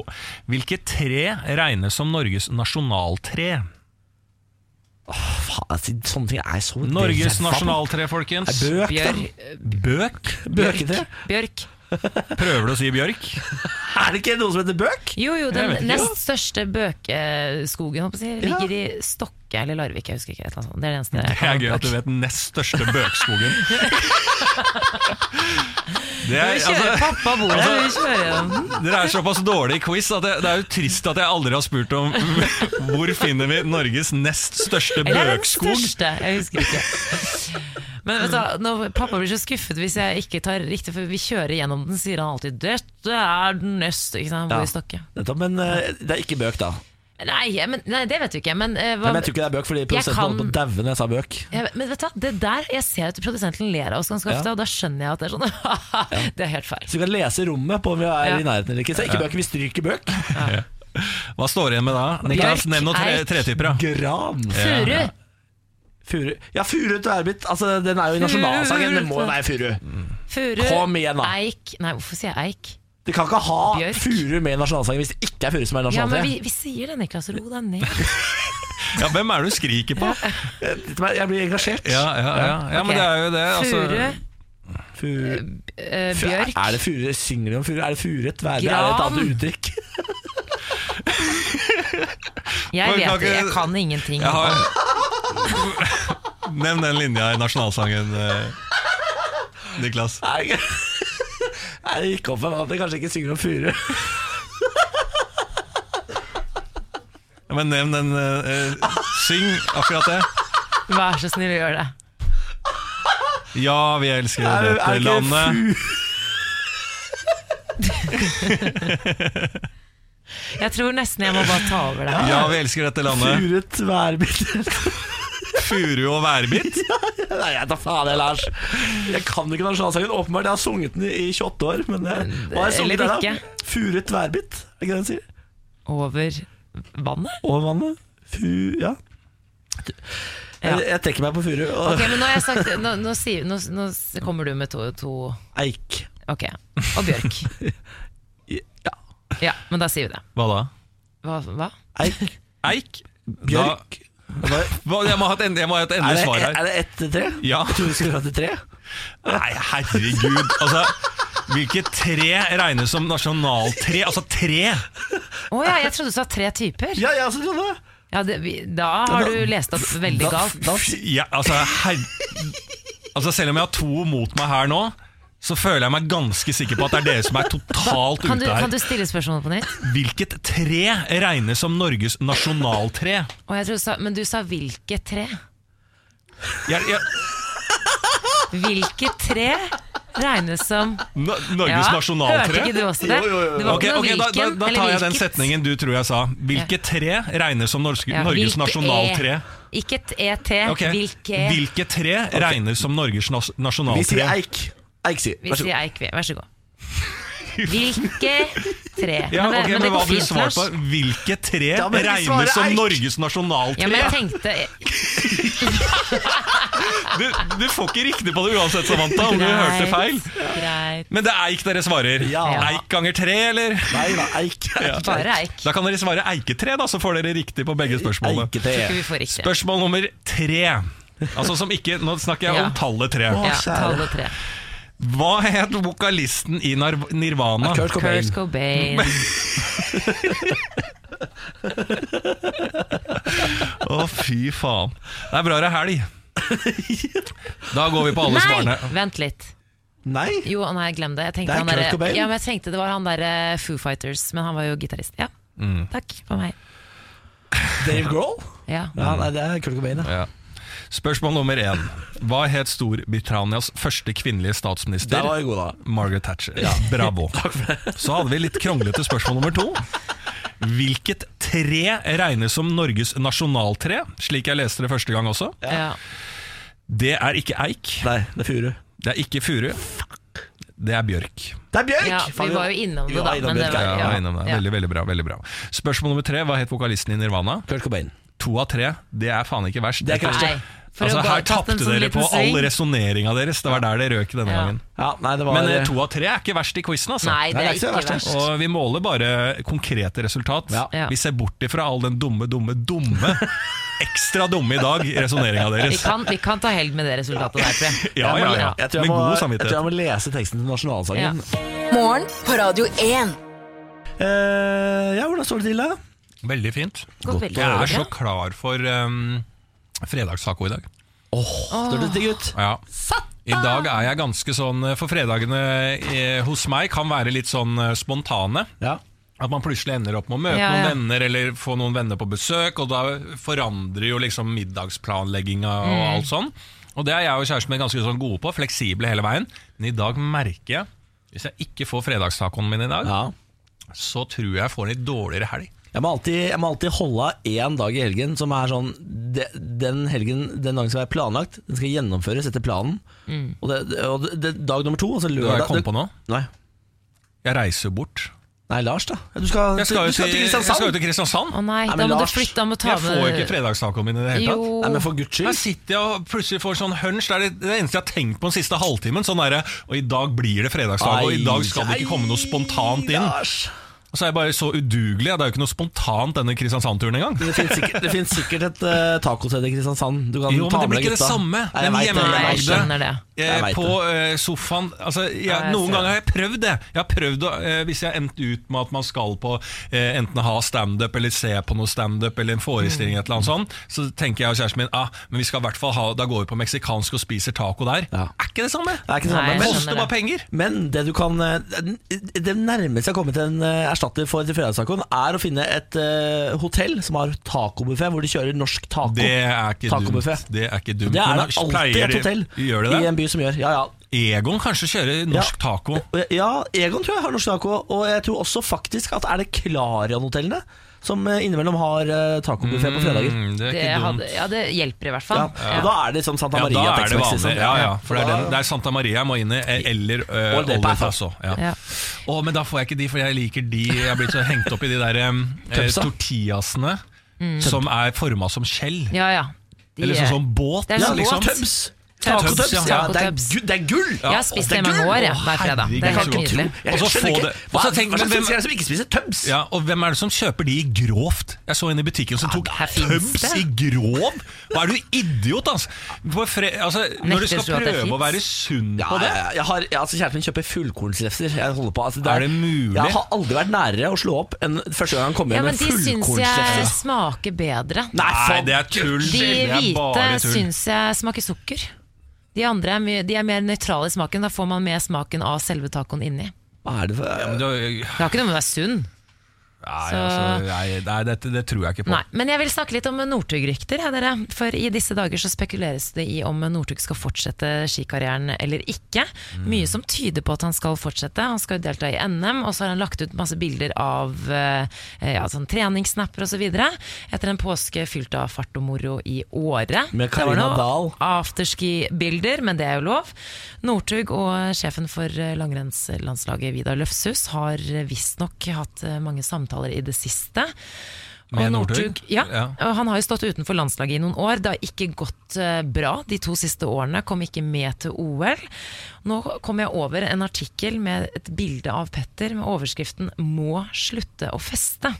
Hvilket tre regnes som Norges nasjonaltre?
Faen, altså, sånne ting er så
Norges
det er faen-
nasjonaltre, folkens.
Er Bøk,
Bjør,
da.
Bøk?
*laughs* Bøketre.
eh, Bjørk.
Prøver du å si bjørk?
Er det ikke noe som heter bøk?
Jo, jo,
Jeg
den
vet ikke.
nest største bøkeskogen holdt på å si, ligger i Stokke eller Larvik. Jeg husker ikke. Et eller annet sånt. Det er det eneste jeg
Det er
kan
gøy
om
at du
bøk.
vet den nest største bøkskogen. Det
Nå
er,
kjører
altså,
pappa bordet, vi kjører gjennom.
dere er såpass dårlige i quiz at det, det er jo trist at jeg aldri har spurt om *laughs* hvor finner vi Norges nest største
Eller er det den
bøkskog.
største? Jeg husker ikke. *laughs* Men vet du, hva, når Pappa blir så skuffet hvis jeg ikke tar riktig, for vi kjører gjennom den, sier han alltid 'Dette er den neste', ikke sant? Han bor
Ja.
i Stokke.
Nettopp, men eh, det er ikke bøk, da.
Nei, jeg- men, nei, det vet du ikke. Men, eh,
Nei,
hva,
men jeg tror ikke det er bøk, fordi produsenten
kan-
holdt på å daue når jeg sa bøk.
Jeg, men vet du hva, det der, jeg ser at produsenten ler av oss ganske ofte,
Ja.
og da skjønner jeg at det er sånn *laughs* Det er helt feil.
Så vi kan lese rommet på om vi er
Ja.
i nærheten eller ikke. Så ikke bøk, vi stryker bøk.
Hva står det igjen med da? Niklas,
Bjørk,
nevn noen tre,
eik.
tretyper. da.
Gran.
Furu!
Ja.
Furu. Ja, furu til Erbit. Altså, den er jo i nasjonalsangen, det må jo være furu.
Furu,
Kom igjen, da.
eik Nei, hvorfor sier jeg eik?
Du kan ikke ha
Bjørk.
furu med i nasjonalsangen hvis det ikke er furu som er
Ja, men
nasjonaltre.
vi, vi sier det, Niklas. Ro deg
*laughs*
ned.
Ja, hvem er det du skriker på?
Dette er- Jeg blir engasjert.
Ja, ja, ja. ja men det er jo det. Altså,
Furu,
Furu.
eh,
Fu-
bjørk
Er det furu? Synger de om furu? Er det furet? Værbe? Er det et
Gran.
annet uttrykk? *laughs*
Jeg
Man
vet
kan
det,
ikke-
jeg kan ingenting.
jeg har... *laughs* Nevn den linja i nasjonalsangen, eh, Niklas.
Nei, ikke- *laughs* Nei, det gikk opp for meg at de kanskje ikke synger om furu.
Ja, Men nevn den eh, eh, Syng akkurat det.
Vær så snill å gjøre det.
Ja, vi elsker
Er- er
dette
ikke
landet.
Jeg tror nesten jeg må bare ta over det.
Ja, vi elsker dette landet.
Furet værbit.
Furu og værbit.
*laughs* Nei, jeg tar faen jeg, Lars. Jeg kan ikke nasjonalsangen. Åpenbart, jeg har sunget den i 28 år. Men jeg, hva har jeg sunget
Eller
der, da? Furet værbit, er det ikke det den sier?
Over vannet?
Over vannet. Fu... Ja.
Ja.
Jeg, jeg trekker meg på furu. Og
Ok, men nå, har jeg sagt, nå, nå, sier- nå, nå kommer du med to, to
eik.
Ok. Og bjørk.
Ja.
Ja, men da sier vi det.
Hva da?
Hva? hva?
*laughs* Eik,
Eik?
bjørk Hva-
Da, Hva- jeg, må ha et end, jeg må ha et
Er
endelig
det,
svar
er
her.
det ett til tre?
Ja.
Jeg trodde vi skulle dra til tre.
Nei, herregud. Altså, hvilke tre regnes som nasjonaltre? Altså tre!
Å ja, jeg trodde du sa tre typer.
Ja, jeg også trodde det.
Ja, det, vi, da har du lest opp
Da-
veldig galt.
da-
Ja, altså, her... altså Selv om jeg har to mot meg her nå, så føler jeg meg ganske sikker på at det er dere som er totalt
Kan du,
ute
kan
her.
du stille spørsmålet på nytt?
Hvilket tre regnes som Norges nasjonaltre?
Å, jeg trodde du sa, men du sa hvilket tre?
Jeg, jeg,
Hvilket tre regnes som
N- Norges
Hørte
nasjonaltre?
ikke du også det? Det var
Ok,
ikke noe
ok, da, da,
hvilken,
da
eller
tar jeg den
hvilket.
setningen du tror jeg sa. Hvilket tre regnes som norsk,
Ja,
Norges
hvilke
nasjonaltre?
E. Ikke et ET,
Ok,
hvilke
Hvilke tre regnes som Norges nas
Vi sier
nasjonaltre?
eik. Eik sier.
Vi sier eik, vi. Vær så
*laughs*
god. Hvilke tre
Ja,
det-
ok, men
det
Hva
går
hadde du
fint,
svart
Lars.
på? Hvilke tre
Ja, men vi svarer
regnes som
eik.
Norges
Ja, men
nasjonaltre?
jeg tenkte
Du, du får ikke riktig på det uansett, Samantha, om du hørte feil.
Greit.
Men det er eik dere svarer.
Ja.
Eik ganger tre, eller?
Nei da, eik.
Bare eik.
Da kan dere svare eiketre, da, så får dere riktig på begge spørsmålene.
Ikke
Eikete.
vi får riktig.
Spørsmål nummer tre. Altså som ikke, Nå snakker jeg
Ja.
om tallet tre.
Ja,
kjære.
tallet tre.
Hva het vokalisten i Nar- Nirvana?
Kurt Cobain.
Kurt Cobain.
Å, fy faen. Det er bra det er helg.
*laughs*
Da går vi på alle
Nei,
svarene.
vent litt.
Nei.
Jo, nei, glem det. Jeg
Det
tenkte,
er
han
Kurt
derre-
Cobain.
ja, men jeg tenkte det var han derre Foo Fighters, men han var jo gitarist. Ja. Takk for meg.
Dave Grohl?
Ja.
Ja, nei, det er Kurt Cobain, ja.
Spørsmål nummer én. Hva het Storbritannias første kvinnelige statsminister?
Der var jeg god, da.
Margaret Thatcher.
*laughs*
Bravo. Så hadde vi litt kronglete spørsmål nummer to. Hvilket tre regnes som Norges nasjonaltre, slik jeg leste det første gang også?
Ja.
Det er ikke eik,
Nei, det er furu.
det er ikke furu, det er bjørk.
Det er bjørk!
Ja, vi var jo innom det, da.
innom
Men det
bjørk,
var,
Ja, jeg
ja.
var innom det. Veldig, veldig bra. veldig bra Spørsmål nummer tre. Hva het vokalisten i Nirvana?
Kurt Cobain.
To av tre. Det er faen ikke verst.
Det er ikke verst,
Nei. For
altså,
å bare
her
tatt en
tapte
sånn
dere
liten
på all
sving.
resonneringa deres. Det var der det røk denne
Ja.
gangen.
Ja, nei, det var
Men eh, to av tre er ikke verst i quizen, altså.
Nei, det
Nei,
er ikke
verst, det.
verst.
Og vi måler bare konkrete resultat.
Ja.
Ja.
Vi ser bort ifra all den dumme, dumme, dumme
*laughs*
ekstra dumme i dag i resonneringa
Vi
deres.
kan, vi kan ta helg med det resultatet der, tror jeg.
Ja, ja, ja.
Jeg tror jeg,
Med
må,
god
jeg tror
samvittighet.
jeg må lese teksten til nasjonalsangen.
Morgen på Radio 1.
Ja,
Eh,
ja hvordan står det til, da?
Veldig fint.
Godt veldig.
Jeg
Ja.
er så klar for um, fredagstaco i dag.
Åh, står det digg ut?
Ja. I dag er jeg ganske sånn For fredagene eh, hos meg kan være litt sånn eh, spontane.
Ja.
At man plutselig ender opp med å møte
Ja, ja.
noen venner eller få noen venner på besøk, og da forandrer jo liksom middagsplanlegginga og alt sånn. Og det er jeg og kjæresten min ganske sånn gode på, fleksible hele veien. Men i dag merker jeg, hvis jeg ikke får fredagstacoen min i dag,
ja.
så tror jeg jeg får en litt dårligere helg.
Jeg må, alltid, jeg må alltid holde av én dag i helgen som er sånn de, Den helgen den dagen skal være planlagt, den skal gjennomføres etter planen.
Mm.
Og, det, det- og det, det, dag nummer to, altså
Du har
lørdag
jeg kommet på nå?
Nei.
Jeg reiser bort.
Nei, Lars, da. Ja, Du skal,
Jeg skal
du
jo til, jeg skal jo til Kristiansand.
Å nei,
Nei, men
da må du
Lars,
flytte. Da må du ta
Jeg får jo ikke
med
fredagstacoen min i det hele tatt.
Jo.
Nei, men for guds
Her
skyld.
sitter jeg og plutselig får sånn hunch. Det er det, det eneste jeg har tenkt på den siste halvtimen. Sånn derre, Og i dag blir det fredagsdag, og i dag skal det ikke komme noe spontant inn.
Lars.
Og så er jeg bare så udugelig. Det er jo ikke noe spontant denne Kristiansand-turen engang.
Det finnes sikkert, det finnes sikkert et uh, tacosted i Kristiansand. Du kan
Jo, men
ta
det
med
blir
deg
ikke det
gutta.
samme.
Nei, jeg
Den
vet det,
hjemmelagde-
Nei,
jeg
jeg
vet det.
skjønner det.
Jeg
Eh,
vet
på eh, sofaen altså, jeg,
Ja, jeg
Noen
ser
ganger har jeg prøvd det. Jeg har prøvd å, eh, Hvis jeg har endt ut med at man skal på eh, enten ha standup eller se på noe standup eller en
Mm.
forestilling, et eller annet sånt, så tenker jeg og kjæresten min ah, men vi skal i hvert fall ha Da går vi på meksikansk og spiser taco der.
Ja.
Er ikke det samme?
Det er ikke det
Nei,
samme.
jeg
Men,
skjønner.
Koster bare penger.
men det du kan eh, Det nærmeste jeg har kommet til en eh, erstatter for til fredagstacoen, er å finne et eh, hotell som har tacobuffé, hvor de kjører norsk taco.
Det er ikke dumt.
Tacobuffé.
Det er ikke dumt.
Det er
Men
det alltid
pleier
et
de-
hotell
Gjør de
i
det?
en by som gjør. Ja, ja.
Egon kanskje kjører norsk taco.
Og jeg- Ja, Egon tror jeg har norsk taco, og jeg tror også faktisk at er det Klarion-hotellene som eh, innimellom har eh, tacobuffé på fredager.
Mm, det er
Det,
ikke dumt.
hadde, ja, det hjelper i hvert
Ja.
fall. Ja.
Og da er det liksom Santa
Ja,
Maria.
da er det
Tex-Mex,
vanlig.
liksom.
Ja, ja, for det er,
Da-
den, det er Santa Maria jeg må inn i, eh, eller uh,
Old
Old
Depot.
Depot også. Ja.
Ja.
Å, men da får jeg ikke de, for jeg liker de Jeg er blitt så hengt opp i de der um, eh,
Cupsa.
tortillasene som er forma som skjell.
Mm. Ja, ja. De,
Eller sånn som båt.
Det er
Ja,
sånn
liksom.
båt.
Tøms.
Tubs, ja.
ja, det, er,
Tubs.
gu- det er gull!
Jeg har spist
Det er
det med
gull.
hår, jeg,
Å,
hver fredag. Det er
herregud,
helt
jeg kan ikke
nydelig.
tro- Jeg
Og så
skjønner
få
ikke
det-
Hva,
og så tenk-
hva slags
men hvem-
mennesker er det som ikke spiser tubs?
Ja, og hvem er det som kjøper de i grovt? Jeg så en i butikken som tok
her finnes
tubs
det.
i grov! Hva er du idiot, altså? På fre altså når
Nekter
du skal
du at det
prøve å
finnes?
være sunn
Ja,
på det
jeg, jeg har, jeg, altså, kjæresten min kjøper fullkornslefser. Jeg holder på altså,
Er det mulig?
Jeg har aldri vært nærere å slå opp enn første gang han kom
Ja,
hjem
men
med
de syns jeg
fullkornslefser.
smaker bedre.
Nei,
Nei,
faen.
det er tull.
De
det er
hvite
bare tull.
syns jeg smaker sukker. De andre er, mye- de er mer nøytrale i smaken. Da får man med smaken av selve tacoen inni.
Hva er det for
Men du, nei,
Det har ikke noe med å være sunn.
altså, nei, nei dette, det tror jeg ikke på.
Nei, Men jeg vil snakke litt om Northug-rykter. her, dere. For i disse dager så spekuleres det i om Northug skal fortsette skikarrieren eller ikke. Mye som tyder på at han skal fortsette. Han skal jo delta i NM, og så har han lagt ut masse bilder av eh, ja, sånn treningssnapper osv. etter en påske fylt av fart og moro i året.
Med
Det var
Karina
noe
Dahl.
Afterski-bilder, men det er jo lov. Northug og sjefen for langrennslandslaget, Vidar Løfshus, har visstnok hatt eh, mange samtaler i det siste.
Med
Og
Northug?
Ja.
Ja.
og Han har jo stått utenfor landslaget i noen år. Det har ikke gått eh, bra de to siste årene. Kom ikke med til OL. Nå kom jeg over en artikkel med et bilde av Petter med overskriften 'Må slutte å feste'.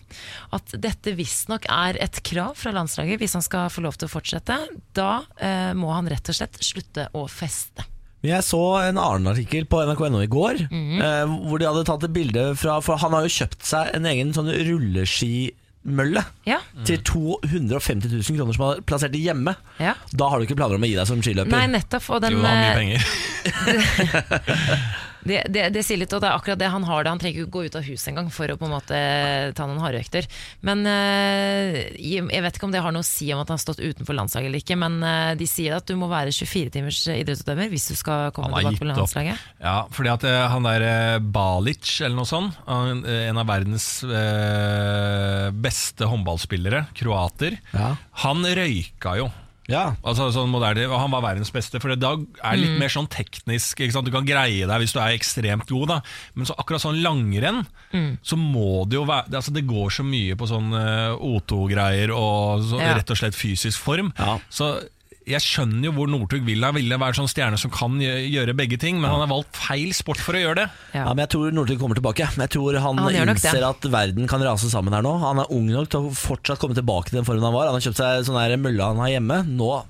At dette visstnok er et krav fra landslaget hvis han skal få lov til å fortsette. Da eh, må han rett og slett slutte å feste.
Men jeg så en annen artikkel på NRK.no i går,
Mhm.
eh, hvor de hadde tatt et bilde fra For han har jo kjøpt seg en egen sånn rulleskimølle.
Ja.
Mm.
Til 250 000 kroner som han har plassert i hjemme.
Ja.
Da har du ikke planer om å gi deg som skiløper.
Nei, nettopp. Og den,
Jo, det er mye
eh,
penger. *laughs*
Det, det, det sier litt, og det er akkurat det han har det. Han trenger ikke gå ut av huset engang for å på en måte ta noen hardøkter. Men eh, jeg jeg vet ikke om det har noe å si om at han har stått utenfor landslaget eller ikke, men eh, de sier at du må være 24 timers idrettsutøver hvis du skal komme
Han har
tilbake på
gitt opp.
landslaget.
Ja, fordi at eh, han der eh, Balic, eller noe sånt, han, eh, en av verdens eh, beste håndballspillere, kroater,
Ja.
han røyka jo.
Ja.
Altså sånn moderne, og Han var verdens beste, for da er det litt mer sånn teknisk. Ikke sant? Du kan greie deg hvis du er ekstremt god, da. men så akkurat sånn langrenn, så må det jo være det- altså Det går så mye på sånn eh, O2-greier og så,
Ja.
rett og slett fysisk form.
Ja.
Så jeg skjønner jo hvor Northug vil. Han ville være sånn stjerne som kan gjø- gjøre begge ting, men han har valgt feil sport for å gjøre det.
Ja, men Jeg tror Northug kommer tilbake. Jeg tror Han,
Han gjør nok
innser
det.
at verden kan rase sammen her nå. Han er ung nok til å fortsatt komme tilbake til den formen han var. Han har kjøpt seg sånn her mølle han har hjemme. Nå,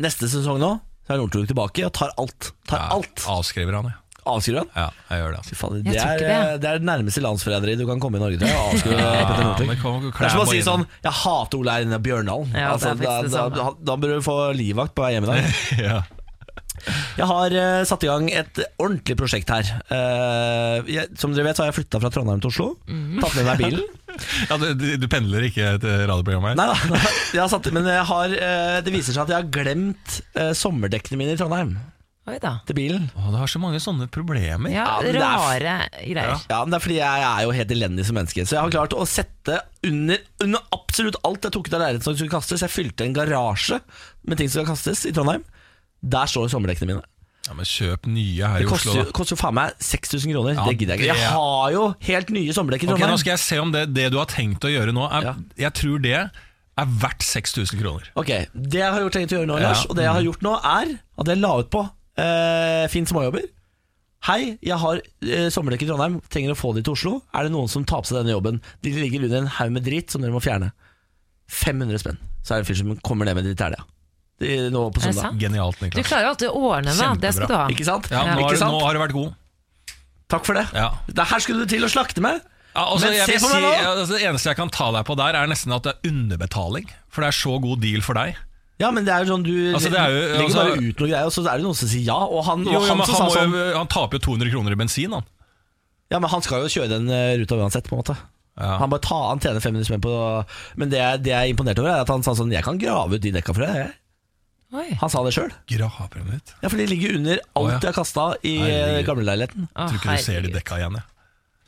Neste sesong nå så er Northug tilbake og tar alt. Tar
Ja,
alt
Avskriver han, ja.
Avskriver han.
ja jeg gjør
*laughs*
det. Altså.
Fy faen,
Jeg
Det
tror
er
ikke
eh,
det.
det er det nærmeste landsforræderiet du kan komme i Norge. Tror jeg, å avskrive Petter
*laughs* Ja,
Northug.
men kom-
Det er som å
klær
si
på
sånn Jeg hater Ole Einar Bjørndalen.
Ja, det er
altså,
faktisk
da,
det
da,
samme.
da, bør du få livvakt på vei hjem i dag.
*laughs* ja.
Jeg har eh, satt i gang et ordentlig prosjekt her. Eh, jeg, som dere vet, så har jeg flytta fra Trondheim til Oslo.
Mhm.
Tatt med meg
*laughs*
bilen.
Ja, du, du du pendler ikke til radioprogrammet? her?
Nei da, jeg har satt, men jeg har, eh, det viser seg at jeg har glemt eh, sommerdekkene mine i Trondheim.
Oi da.
Til bilen.
Å, du har så mange sånne problemer.
Ja,
Ja, men det er f-
rare greier.
Ja, men Det er fordi jeg er jo helt elendig som menneske. Så jeg har klart å sette under, under absolutt alt jeg tok ut av leiligheten som skulle kastes. Jeg fylte en garasje med ting som skal kastes i Trondheim. Der står sommerdekkene mine.
Ja, men Kjøp nye her
Det
i Oslo.
koster,
da.
jo- koster jo faen meg 6000 kroner.
Ja,
det gidder jeg ikke.
det-
Jeg har jo helt nye sommerdekk i
Ok,
Trondheim.
Nå skal jeg se om det, det du har tenkt å gjøre nå er,
Ja.
Jeg tror det er verdt 6000 kroner.
Ok, Det jeg har gjort tenkt å gjøre nå, Lars,
Ja.
og det jeg har gjort nå, er at jeg la ut på eh, Finn småjobber. Hei, jeg har eh, sommerdekk i Trondheim, trenger å få de til Oslo. Er det noen som tar på seg denne jobben? De ligger under en haug med dritt som dere må fjerne. 500 spenn. Så er det en fyr som kommer ned med det i telja. Det- Nå på
Er det
søndag.
sant?
Genialt,
Du
Niklas.
klarer jo alltid å ordne det. Det skal du ha.
Ikke sant?
Ja, nå, har,
Ikke
du- nå
sant?
har du vært god.
Takk for det.
Ja.
Det her skulle du til å slakte meg.
Ja, altså,
Men
jeg
se
vil
på
si,
meg nå!
ja, altså, det eneste jeg kan ta deg på der, er nesten at det er underbetaling. For det er så god deal for deg.
Ja, men det er jo sånn du
Altså, det er jo-
legger
altså-
bare ut noe greier, og så er det noen som sier ja. Og han, og
Jo, jo,
han
men
som sa
han, må,
sånn
jo- han taper jo 200 kroner i bensin, han.
Ja, men han skal jo kjøre den eh, ruta uansett, på en måte.
Ja.
Han bare ta, han tjener 500 spenn på Men det, jeg- det jeg er imponert over, er at han sa sånn Jeg kan grave ut de dekka for deg. jeg».
Oi.
Han sa det sjøl.
Graven ut.
Ja, for de ligger under alt
Å, ja.
jeg har kasta i
Herregud.
eh, gamleleiligheten.
Å,
Tror ikke du ser de
herregud.
dekka igjen, jeg.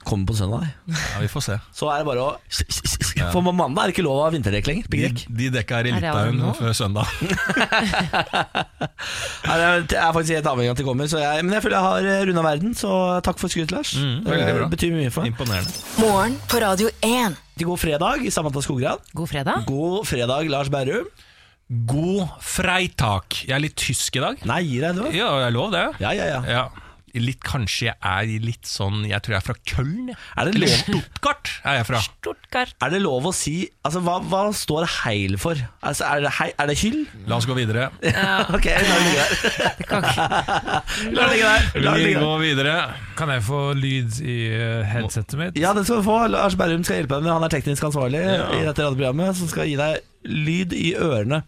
Kommer på søndag. jeg.
Ja, vi får se.
Så er det bare å
*laughs*
For på mandag er det ikke lov å ha vinterdekk lenger.
De,
Piggdekk.
de dekka er i
Er det allerede
Litauen
nå?
før søndag.
Nei, Jeg er faktisk helt avhengig av at de kommer. Så jeg, men jeg føler jeg har runda verden, så takk for skrytet, Lars.
Mm, veldig bra.
det betyr mye for meg.
Imponerende.
Morgen på Radio 1.
Til god fredag, Samantha Skogran.
God fredag.
God fredag, Lars Berrum.
God freitak. Jeg er litt tysk i dag.
Nei, gi deg nå.
Ja, jeg er lov det.
Ja, ja, ja.
Ja. Litt, kanskje jeg er litt sånn Jeg tror jeg er fra Køln. jeg.
Er det
Eller
lov?
Stuttgart er jeg fra.
Stuttgart.
Er det lov å si Altså, hva, hva står heil for? Altså, er det, hei, er det hyll?
La oss gå videre.
ok, la det ligge der. *laughs* La det ligge der. La det
Vi
ligge der.
går videre.
Kan jeg få lyd i eh, headsetet mitt?
Ja, det skal du få. Lars Berrum skal hjelpe deg med Han er teknisk ansvarlig i dette radioprogrammet, som skal gi deg lyd i ørene.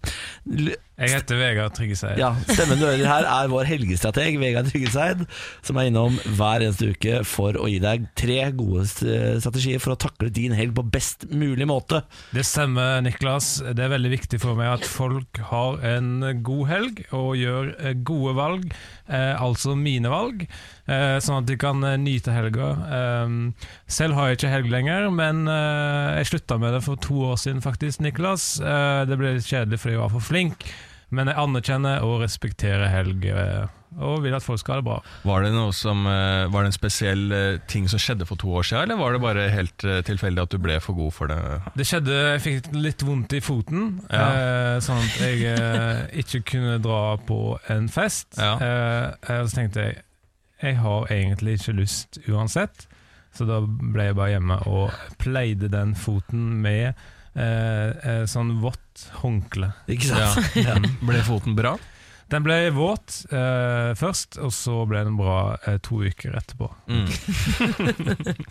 L
Jeg heter Vegard Tryggeseid.
ja, Stemmen du hører her, er vår helgestrateg Vegard Tryggeseid, som er innom hver eneste uke for å gi deg tre gode eh, strategier for å takle din helg på best mulig måte.
Det stemmer, Niklas. Det er veldig viktig for meg at folk har en god helg og gjør eh, gode valg, eh, altså mine valg, eh, sånn at de kan eh, nyte helga. Ehm, selv har jeg ikke helg lenger, men eh, jeg slutta med det for to år siden, faktisk, Niklas. Eh, det ble litt kjedelig fordi jeg var for flink, men jeg anerkjenner og respekterer helg, eh, og vil at folk skal ha det bra.
Var det, noe som, eh, var det en spesiell eh, ting som skjedde for to år siden, eller var det bare helt eh, tilfeldig at du ble for god for det?
Det skjedde, jeg fikk litt vondt i foten, eh, sånn at jeg eh, ikke kunne dra på en fest.
Ja.
Eh, og så tenkte jeg jeg har egentlig ikke lyst uansett, så da ble jeg bare hjemme og pleide den foten med eh, eh, sånn vått håndkle.
Ikke
*laughs*
sant? Ja.
Ble foten bra?
Den ble våt eh, først, og så ble den bra eh, to uker etterpå.
Mm.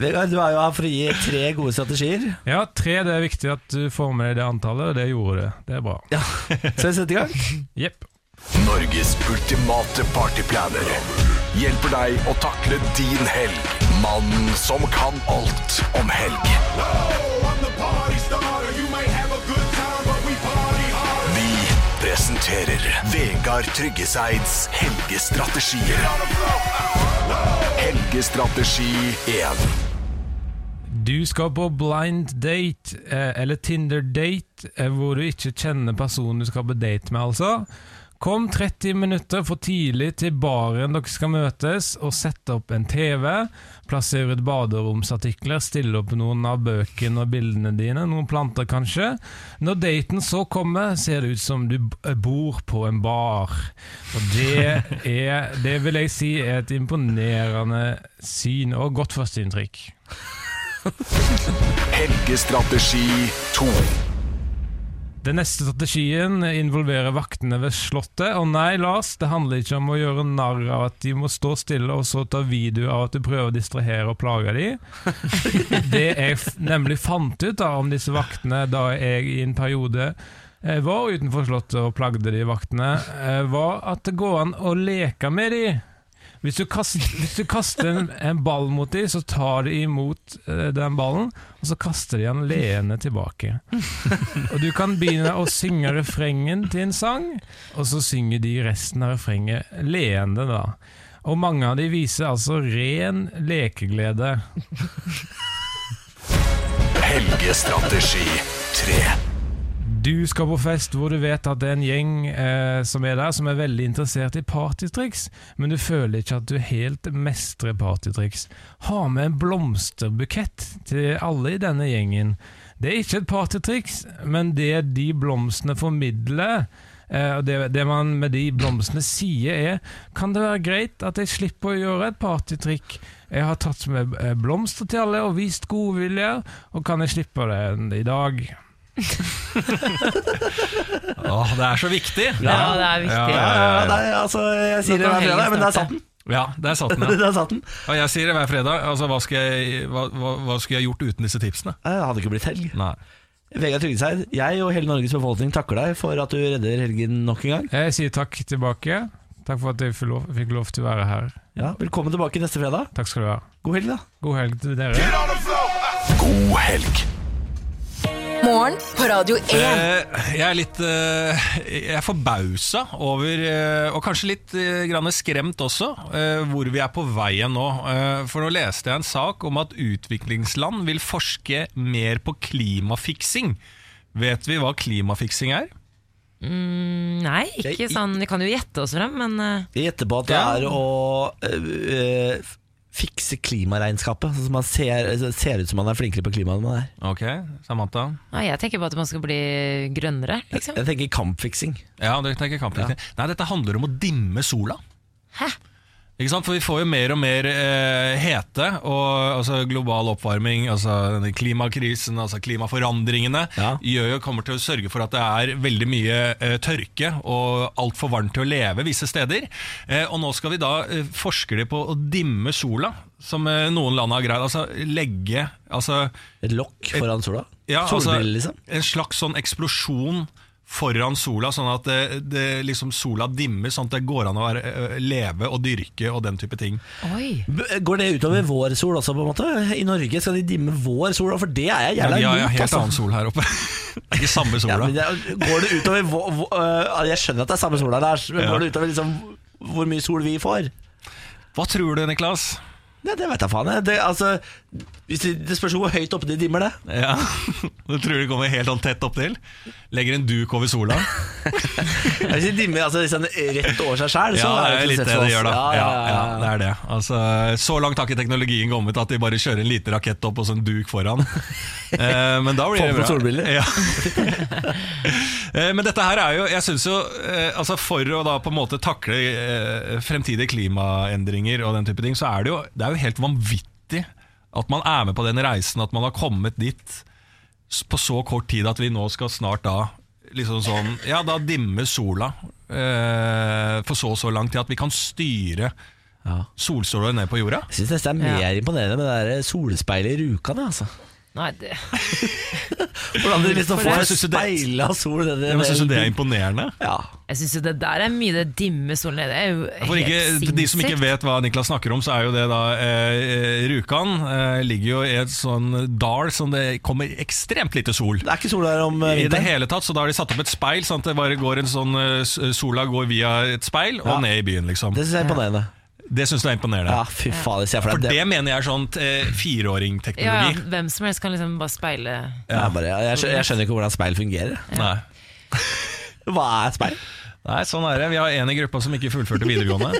Vegard, du er jo her for å gi tre gode strategier.
Ja, tre, det er viktig at du får med deg det antallet, og det gjorde du. Det er bra.
Ja. Skal vi sette i gang?
Jepp.
Norges ultimate partyplaner hjelper deg å takle din helg. Mannen som kan alt om helg. Vi presenterer Vegard Tryggeseids helgestrategier. Helgestrategi 1.
Du skal på blind date, eh, eller Tinder date, eh, hvor du ikke kjenner personen du skal på date med, altså. Kom 30 minutter for tidlig til baren dere skal møtes, og sette opp en TV. Plasser ut baderomsartikler, stille opp noen av bøkene og bildene dine, noen planter kanskje. Når daten så kommer, ser det ut som du b- eh, bor på en bar. Og det, er, det vil jeg si er et imponerende syn, og godt førsteinntrykk.
Helgestrategi 2.
Den neste strategien involverer vaktene ved slottet. Og nei, Lars, det handler ikke om å gjøre narr av at de må stå stille, og så ta video av at du prøver å distrahere og plage de. Det jeg f- nemlig fant ut da om disse vaktene da jeg i en periode eh, var utenfor slottet og plagde de vaktene, eh, var at det går an å leke med de. Hvis du kaster, hvis du kaster en, en ball mot de, så tar de imot eh, den ballen, og så kaster de den leende tilbake. Og du kan begynne å synge refrengen til en sang, og så synger de resten av refrenget leende, da. Og mange av de viser altså ren lekeglede.
Helgestrategi 3.
Du skal på fest hvor du vet at det er en gjeng eh, som er der, som er veldig interessert i partytriks, men du føler ikke at du helt mestrer partytriks. Ha med en blomsterbukett til alle i denne gjengen. Det er ikke et partytriks, men det de blomstene formidler, eh, og det, det man med de blomstene sier, er Kan det være greit at jeg slipper å gjøre et partytrikk? Jeg har tatt med eh, blomster til alle og vist godvilje, og kan jeg slippe det i dag?
Åh, det er så viktig!
Ja, det er viktig.
Ja, ja,
Eh,
ja, nei, altså, jeg sier det hver fredag, men der satt den.
Ja, der satt den, ja.
*laughs* Der satt den.
Og jeg sier det hver fredag. Altså, hva skulle jeg, hva, hva, hva skulle jeg gjort uten disse tipsene?
Nei, Eh, Det hadde ikke blitt helg.
Nei.
Vegard Tryggeseid, jeg og hele Norges befolkning takker deg for at du redder helgen nok en gang.
Jeg sier takk tilbake. Takk for at jeg fikk lov, fikk lov til å være her.
Ja, velkommen tilbake neste fredag.
Takk skal du ha.
God helg, da.
God helg til dere.
God helg.
Morgen på Radio 1.
Eh, jeg er litt eh, Jeg er forbausa over, eh, og kanskje litt eh, grann skremt også, eh, hvor vi er på veien nå. Eh, for nå leste jeg en sak om at utviklingsland vil forske mer på klimafiksing. Vet vi hva klimafiksing er?
Nei, ikke sånn Vi kan jo gjette oss frem, men eh,
Jeg gjetter på at det
Ja.
er å øh, øh, fikse klimaregnskapet. Sånn at man ser, ser ut som man er flinkere på klima enn man er.
Ok, Samantha?
Nei, jeg tenker på at man skal bli grønnere, liksom.
Jeg tenker kampfiksing.
Ja, du tenker kampfiksing. Nei, dette handler om å dimme sola. Ikke sant? For vi får jo mer og mer eh, hete, og altså, global oppvarming, altså denne klimakrisen, altså klimaforandringene, gjør jo, kommer til å sørge for at det er veldig mye eh, tørke og altfor varmt til å leve visse steder. Eh, og nå skal vi da eh, forskere på å dimme sola, som eh, noen land har greid. Altså legge altså,
Et lokk foran sola?
ja, altså-
Solbriller, liksom?
En slags sånn eksplosjon foran sola, sånn at det, det, liksom sola dimmer, sånn at det går an å være, ø, leve og dyrke og den type ting.
Oi.
B- Går det utover vår sol også, på en måte? I Norge skal de dimme vår sol, for det er jeg
Ja,
jævla
vi har jo
imot,
helt
altså.
annen sol her
*laughs*
oppe. Det er Ikke samme
Ja,
sola.
men det, går det utover vår, vår, øh, Jeg skjønner at det er samme sola, Lars, men
Ja.
går det utover liksom hvor mye sol vi får?
Hva tror du, Niklas?
Nei, det vet jeg faen. jeg. Det, altså, hvis de, det spørs jo hvor høyt oppe de dimmer det.
Ja, *laughs* Du tror det kommer helt sånn tett opptil? Legger en duk over sola?
Hvis de dimmer altså, liksom, rett over seg sjøl,
Ja,
så er
det er
det sånn
litt
ikke
det
sett for
det
oss.
gjør, da.
Ja, ja,
Ja, ja,
ja,
det er det. Altså, så langt har ikke teknologien kommet at de bare kjører en liten rakett opp og så en duk
*laughs*
foran. Eh, Men da
Få
blir det
på
bra.
solbriller.
Ja. *laughs* Eh, Men dette her er jo Jeg synes jo eh, altså For å da på en måte takle eh, fremtidige klimaendringer og den type ting, så er det jo, det er jo helt vanvittig at man er med på den reisen, at man har kommet dit s- på så kort tid at vi nå skal snart da liksom sånn Ja, da dimmer sola eh, for så og så lang tid at vi kan styre solstråler ned på jorda.
Jeg syns nesten det er mer imponerende med det der solspeilet i Rjukan. Altså.
Nei, det,
Hvordan de liksom
For
får
jeg synes jo det-
speila sol nedi
Jeg synes jo det er
der.
imponerende.
Ja.
jeg syns jo det der er mye det dimme solen nede. Det er jo
For
helt
ikke, for de som ikke
sinnssykt.
vet hva Niklas snakker om, så er jo det da eh, eh, Rjukan eh, ligger jo i et sånn dal som det kommer ekstremt lite sol.
Det er ikke sol der om øh,
I det
vinteren.
hele tatt, så da har de satt opp et speil, sånn at det bare går en sånn eh, s- Sola går via et speil og
Ja.
ned i byen, liksom.
Det syns jeg er imponerende.
Det syns du er imponerende.
Ja, fy faen, det ser jeg for
For
deg.
det
Det-
mener jeg er sånn eh,
ja, ja,
fireåringteknologi.
Hvem som helst kan liksom bare speile
Ja, bare, jeg, skjønner, jeg skjønner ikke hvordan speil fungerer.
Nei.
Hva er speil?
Nei, sånn er det. Vi har en i gruppa som ikke fullførte videregående.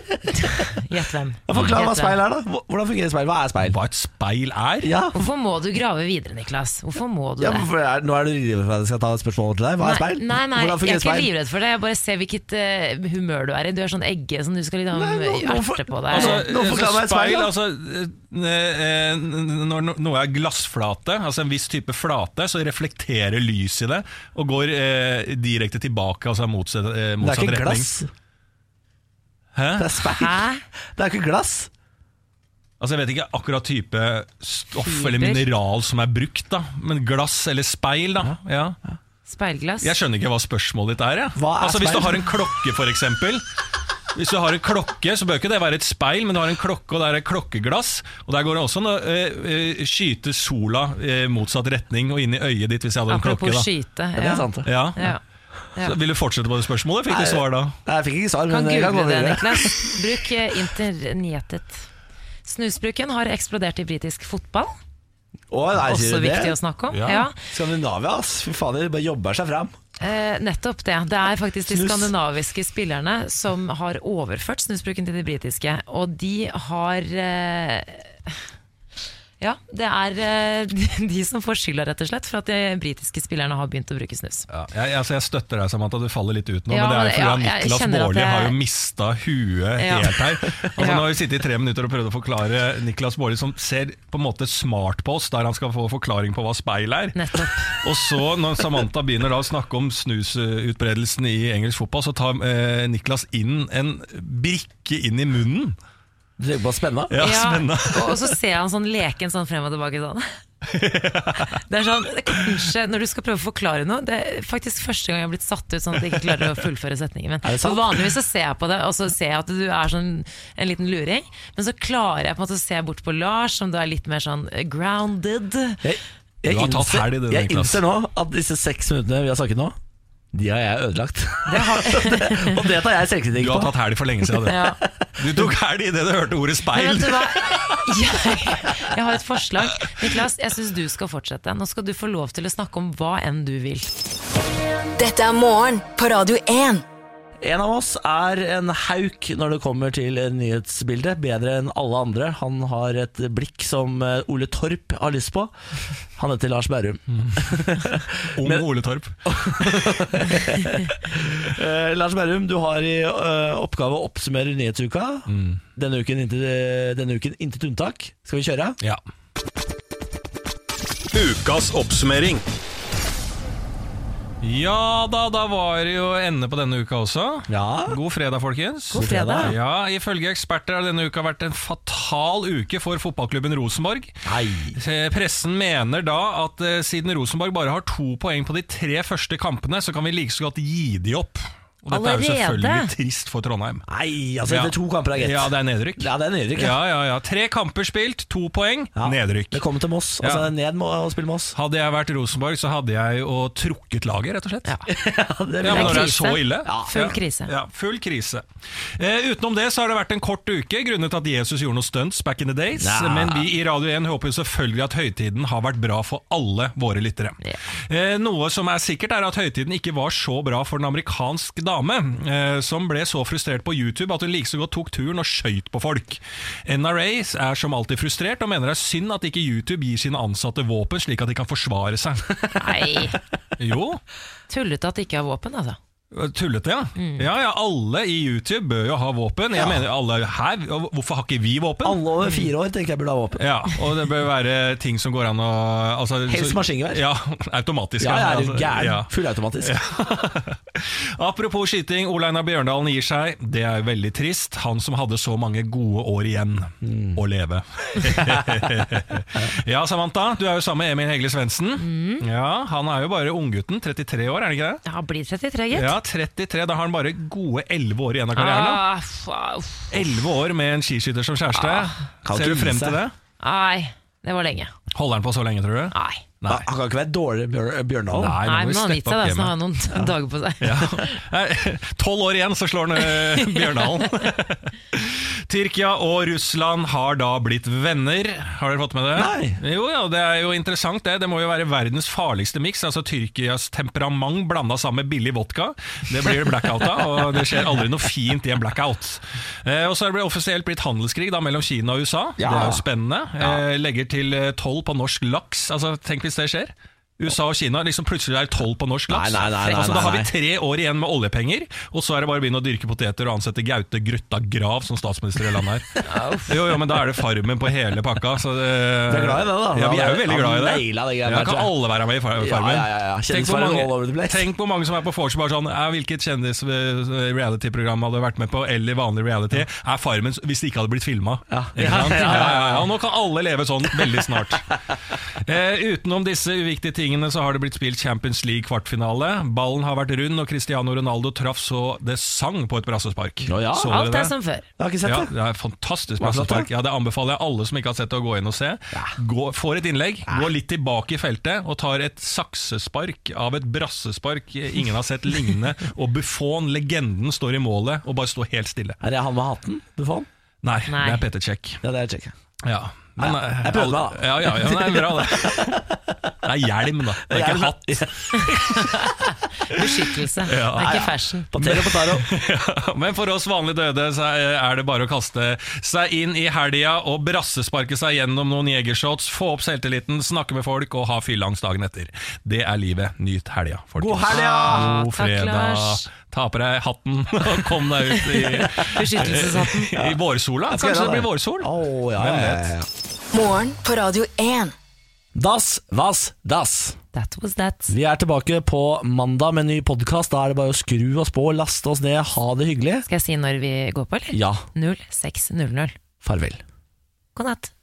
Gjett
*laughs*
hvem.
Forklar hva
Gjett hvem.
speil er, da. Hva- Hvordan fungerer speil? Hva er *laughs* speil?
Hva et speil er?
Ja,
Hvorfor må du grave videre, Niklas? Hvorfor må du
ja
det?
men for jeg, Nå er du livredd for at jeg skal ta et spørsmål til deg. Hva er
Nei,
speil?
nei, nei,
Hvordan
jeg er
fungerer
ikke
speil?
livredd for det. Jeg bare ser hvilket eh, humør du er i. Du er sånn egge som du skal liksom
Nei, nå- nå for-
erte på deg.
Altså,
Nå forklarer meg et speil, da.
altså, eh, eh, Når no- noe er glassflate, altså en viss type flate, så reflekterer lys i det og går eh, direkte tilbake, altså motsatt, eh,
Det
motsatt
er ikke
retning.
glass. Det
Hæ?
er speil.
Hæ?
Det er ikke glass.
Altså, jeg vet ikke akkurat type stoff
Fiber.
eller mineral som er brukt, da. men glass eller speil, da. Ja.
Speilglass.
Jeg skjønner ikke hva spørsmålet ditt er. Jeg.
Hva er
altså, hvis du
speil?
har en klokke, for eksempel. Hvis du har en klokke, så bør ikke det være et speil, men du har en klokke, og det er et klokkeglass. Og der går det også an å eh, eh, skyte sola eh, motsatt retning og inn i øyet ditt, hvis jeg hadde en
Apropos
klokke.
skyte.
Ja, det er sant.
da ja.
Ja. Ja.
Så Vil du fortsette på det spørsmålet? Fikk
Nei,
du svar da?
Nei, Jeg fikk ikke svar,
Kan
men jeg kan gå
google det,
videre.
Niklas.
*laughs*
Bruk eh, internettet. Snusbruken har eksplodert i britisk fotball.
Å, nei, sier
Også
du
viktig
det?
å snakke om.
Ja.
Ja.
Skandinavia, ass. Fy faen, de bare jobber seg fram.
Eh, nettopp det. Det er faktisk de
Snus.
skandinaviske spillerne som har overført snusbruken til de britiske. Og de har eh, Ja, det er eh, *laughs* de- de som får skylda, rett og slett, for at de britiske spillerne har begynt å bruke snus.
Ja, jeg, altså jeg støtter deg, Samantha. Du faller litt ut nå.
Ja,
men det er jo
men- ja,
fordi at
jeg
Niklas
kjenner at
Baarli
jeg-
har jo mista huet
Ja.
helt her. Altså,
Ja.
Nå har vi sittet i tre minutter og prøvd å forklare Niklas Baarli, som ser på en måte smart på oss, der han skal få forklaring på hva speil er.
Nettopp.
Og så, når Samantha begynner da å snakke om snusutbredelsen i engelsk fotball, så tar eh, Niklas inn en brikke inn i munnen.
Du tenker på spenna?
Ja,
Ja,
*laughs* spennende.
og- og så ser han sånn leken sånn frem og tilbake sånn. Det er sånn, det er kanskje Når du skal prøve å forklare noe Det er faktisk første gang jeg har blitt satt ut sånn at jeg ikke klarer å fullføre setningen min.
det
For
sant?
vanligvis så ser jeg på det, og så ser jeg at du er sånn en liten luring. Men så klarer jeg på en måte å se bort på Lars, som da er litt mer sånn eh, grounded.
Jeg, jeg,
Du har tatt
innser,
helg i det,
jeg
Niklas.
innser nå at disse seks minuttene vi har snakket nå, de har jeg ødelagt. *laughs* og det tar jeg selvkritikk
Du
på.
har tatt helg for lenge siden. Du,
Ja.
du tok helg idet du hørte ordet
Men
speil.
vet du hva? Jeg, jeg har et forslag. Niklas, jeg syns du skal fortsette. Nå skal du få lov til å snakke om hva enn du vil.
Dette er morgen på Radio 1.
En av oss er en hauk når det kommer til nyhetsbildet. Bedre enn alle andre. Han har et blikk som eh, Ole Torp har lyst på. Han heter Lars Berrum.
Mm. Ung Ole Torp.
Eh, Lars Berrum, du har i eh, oppgave å oppsummere nyhetsuka.
Mm.
Denne uken intet denne uken intet unntak. Skal vi kjøre?
Ja.
Ukas oppsummering.
Ja da, da var det jo ende på denne uka også. God fredag, folkens.
God fredag.
Ja, Ifølge eksperter har denne uka vært en fatal uke for fotballklubben Rosenborg. Eh, Pressen mener da at eh, siden Rosenborg bare har to poeng på de tre første kampene, så kan vi like så godt gi de opp. Og dette er jo
Allerede?
selvfølgelig trist for Trondheim.
Nei, altså etter to kamper er greit.
Ja, det er nedrykk.
Ja, det er nedrykk,
ja. ja, ja. Tre kamper spilt, to poeng, nedrykk.
Velkommen til Moss. Altså, ned må å spille Moss.
Hadde jeg vært Rosenborg, så hadde jeg jo trukket laget, rett og slett.
*laughs* Ja,
men når det er så ille.
Full krise.
Ja, full krise. Eh, utenom det så har det vært en kort uke grunnet at Jesus gjorde noe stunts back in the days.
Ja.
Men vi i Radio 1 håper jo selvfølgelig at høytiden har vært bra for alle våre lyttere. Eh, noe som er sikkert er at høytiden ikke var så bra for en amerikansk dame, eh, som ble så frustrert på YouTube at hun like så godt tok turen og skøyt på folk. NRA er som alltid frustrert og mener det er synd at ikke YouTube gir sine ansatte våpen slik at de kan forsvare seg.
Nei.
Jo.
Tullete at de ikke har våpen, altså.
Tullete, ja.
Mm.
ja. Ja, Alle i YouTube bør jo ha våpen. Jeg mener alle her, og Hvorfor har ikke vi våpen?
Alle over fire år tenker jeg burde ha våpen.
Ja, Og det bør være ting som går an å altså,
Helst
så-
maskingevær.
Ja, *laughs* automatisk.
Ja, jeg er jo
altså,
gæren.
ja.
Fullautomatisk.
Apropos skyting, Ole Einar Bjørndalen gir seg. Det er veldig trist. Han som hadde så mange gode år igjen
Mm.
å
*laughs*
leve. ja, Samantha, du er jo sammen med Emil Hegle Svendsen.
Mm.
Ja, han er jo bare unggutten. 33 år, er han ikke det?
Ja, blir 33, gitt.
Ja, 33. Da har han bare gode 11 år igjen av karrieren. da.
Ah, fa- uff.
11 år med en skiskytter som kjæreste.
Ah,
kan
Ser
ikke
du
gi
frem
seg.
til det?
Nei, det var lenge.
Holder han på så lenge, tror du?
Nei.
Nei.
Han kan ikke være dårligere Bjør Bjørndalen.
Nei, nå
Ah. Nei,
må vi
men han har
steppe
gitt
opp
seg, da, så
gamet.
nå har han noen dager på seg.
*laughs* Tolv år igjen, så slår
*laughs*
han eh, Bjørndalen. *laughs* Tyrkia og Russland har da blitt venner. Har dere fått med det? Nei. Jo, ja, Det er jo interessant, det. Det må jo være verdens farligste miks. Altså Tyrkias temperament blanda sammen med billig vodka. Det blir det blackout av, og det skjer aldri noe fint i en blackout. Eh, og så har det blitt offisielt blitt handelskrig da, mellom Kina og USA.
Ja.
Det er jo spennende. Eh, legger til eh, toll på norsk laks. Altså, Tenk hvis det skjer. USA og Kina liksom plutselig er det toll på norsk
Nei,
laks.
nei, nei, nei,
altså, da har
nei.
vi tre år igjen med oljepenger, og så er det bare å begynne å dyrke poteter og ansette Gaute Grøtta Grav som statsminister i landet
*laughs*
her. jo, jo, men da er det Farmen på hele pakka. Så det,
Vi er glad i det, da.
Ja, vi er jo veldig
Han
glad i det.
naila det greiene
ja,
der,
kan
tror jeg.
alle være med i Far-
Ja,
Farmen?
ja, ja, ja.
Tenk, hvor
Kjendisfarmen all over the
mange,
place.
tenk hvor mange som er på Force bare sånn ja, Hvilket kjendis eh, reality-program hadde du vært med på, eller vanlig reality, er Farmen hvis det ikke hadde blitt filma? Ikke
Ja,
sant?
ja, ja, ja.
Og nå kan alle leve sånn veldig snart. Eh, utenom disse uviktige tingene så har det blitt spilt Champions League kvartfinale. Ballen har vært rund, og Cristiano Ronaldo traff så det sang på et brassespark. Så dere
Alt er
det?
som før.
Jeg har ikke sett
ja,
det.
det er fantastisk
Var det flott,
brassespark. Ja, det anbefaler jeg alle som ikke har sett det, å gå inn og se. Gå, får et innlegg, går litt tilbake i feltet og tar et saksespark av et brassespark ingen har sett lignende. Og Buffon, legenden, står i målet og bare står helt stille.
Er det han med hatten? Buffon?
Nei, det er Peter Check.
Ja, det er Check.
Ja. Men,
Ja,
eh,
jeg prøvde meg, da.
*laughs* Ja, ja, ja, men det er bra, det. Det er hjelm, da. Det er
Hjelm,
ikke
*laughs*
hatt.
Beskyttelse.
Ja.
Det er
Ja.
ikke fashion.
*laughs*
Ja, Men for oss vanlig døde så er er det bare å kaste seg inn i helga og brassesparke seg gjennom noen jegershots, få opp selvtilliten, snakke med folk og ha fylleangst dagen etter. Det er livet. Nyt helga, folkens.
God helg, ja!
God
Takk, Lars.
fredag. Ta på deg hatten *laughs* og kom deg ut i,
Beskyttelseshatten.
*laughs* i vårsola.
Jeg skal
Kanskje
gjøre
det
det.
blir vårsol?
ja,
Hvem
ja, ja,
vet?
ja.
Morgen på Radio 1.
Das was das.
That was that.
Vi er tilbake på mandag med en ny podkast. Da er det bare å skru oss på, laste oss ned, ha det hyggelig.
Skal jeg si når vi går på, eller?
Ja.
06.00.
Farvel.
God natt.